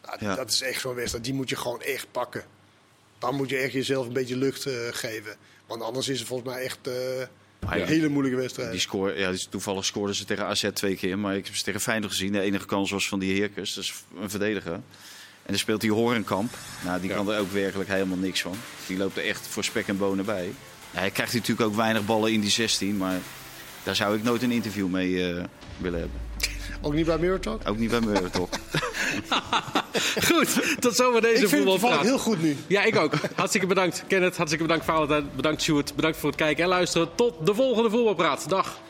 Nou, Ja. Dat is echt zo'n wedstrijd. Die moet je gewoon echt pakken. Dan moet je echt jezelf een beetje lucht eh, geven. Want anders is het volgens mij echt eh, ja. Ah, een hele moeilijke die wedstrijd. score, ja, dus toevallig scoorden ze tegen AZ twee keer. Maar ik heb ze tegen Feyenoord gezien. De enige kans was van die Heracles. Dat is een verdediger. En dan speelt die Horenkamp. Nou, die kan er ook werkelijk helemaal niks van. Die loopt er echt voor spek en bonen bij. Ja, hij krijgt natuurlijk ook weinig ballen in die 16. Maar Daar zou ik nooit een interview mee eh, willen hebben. Ook niet bij Mirror Talk? Ook niet bij Murdoch. Goed, tot zover deze Ik vind het toevallig voetbalpraat. heel goed nu. Ja, ik ook. Hartstikke bedankt Kenneth, hartstikke bedankt Valentijn, bedankt Stuart, bedankt voor het kijken en luisteren. Tot de volgende voetbalpraat. Dag.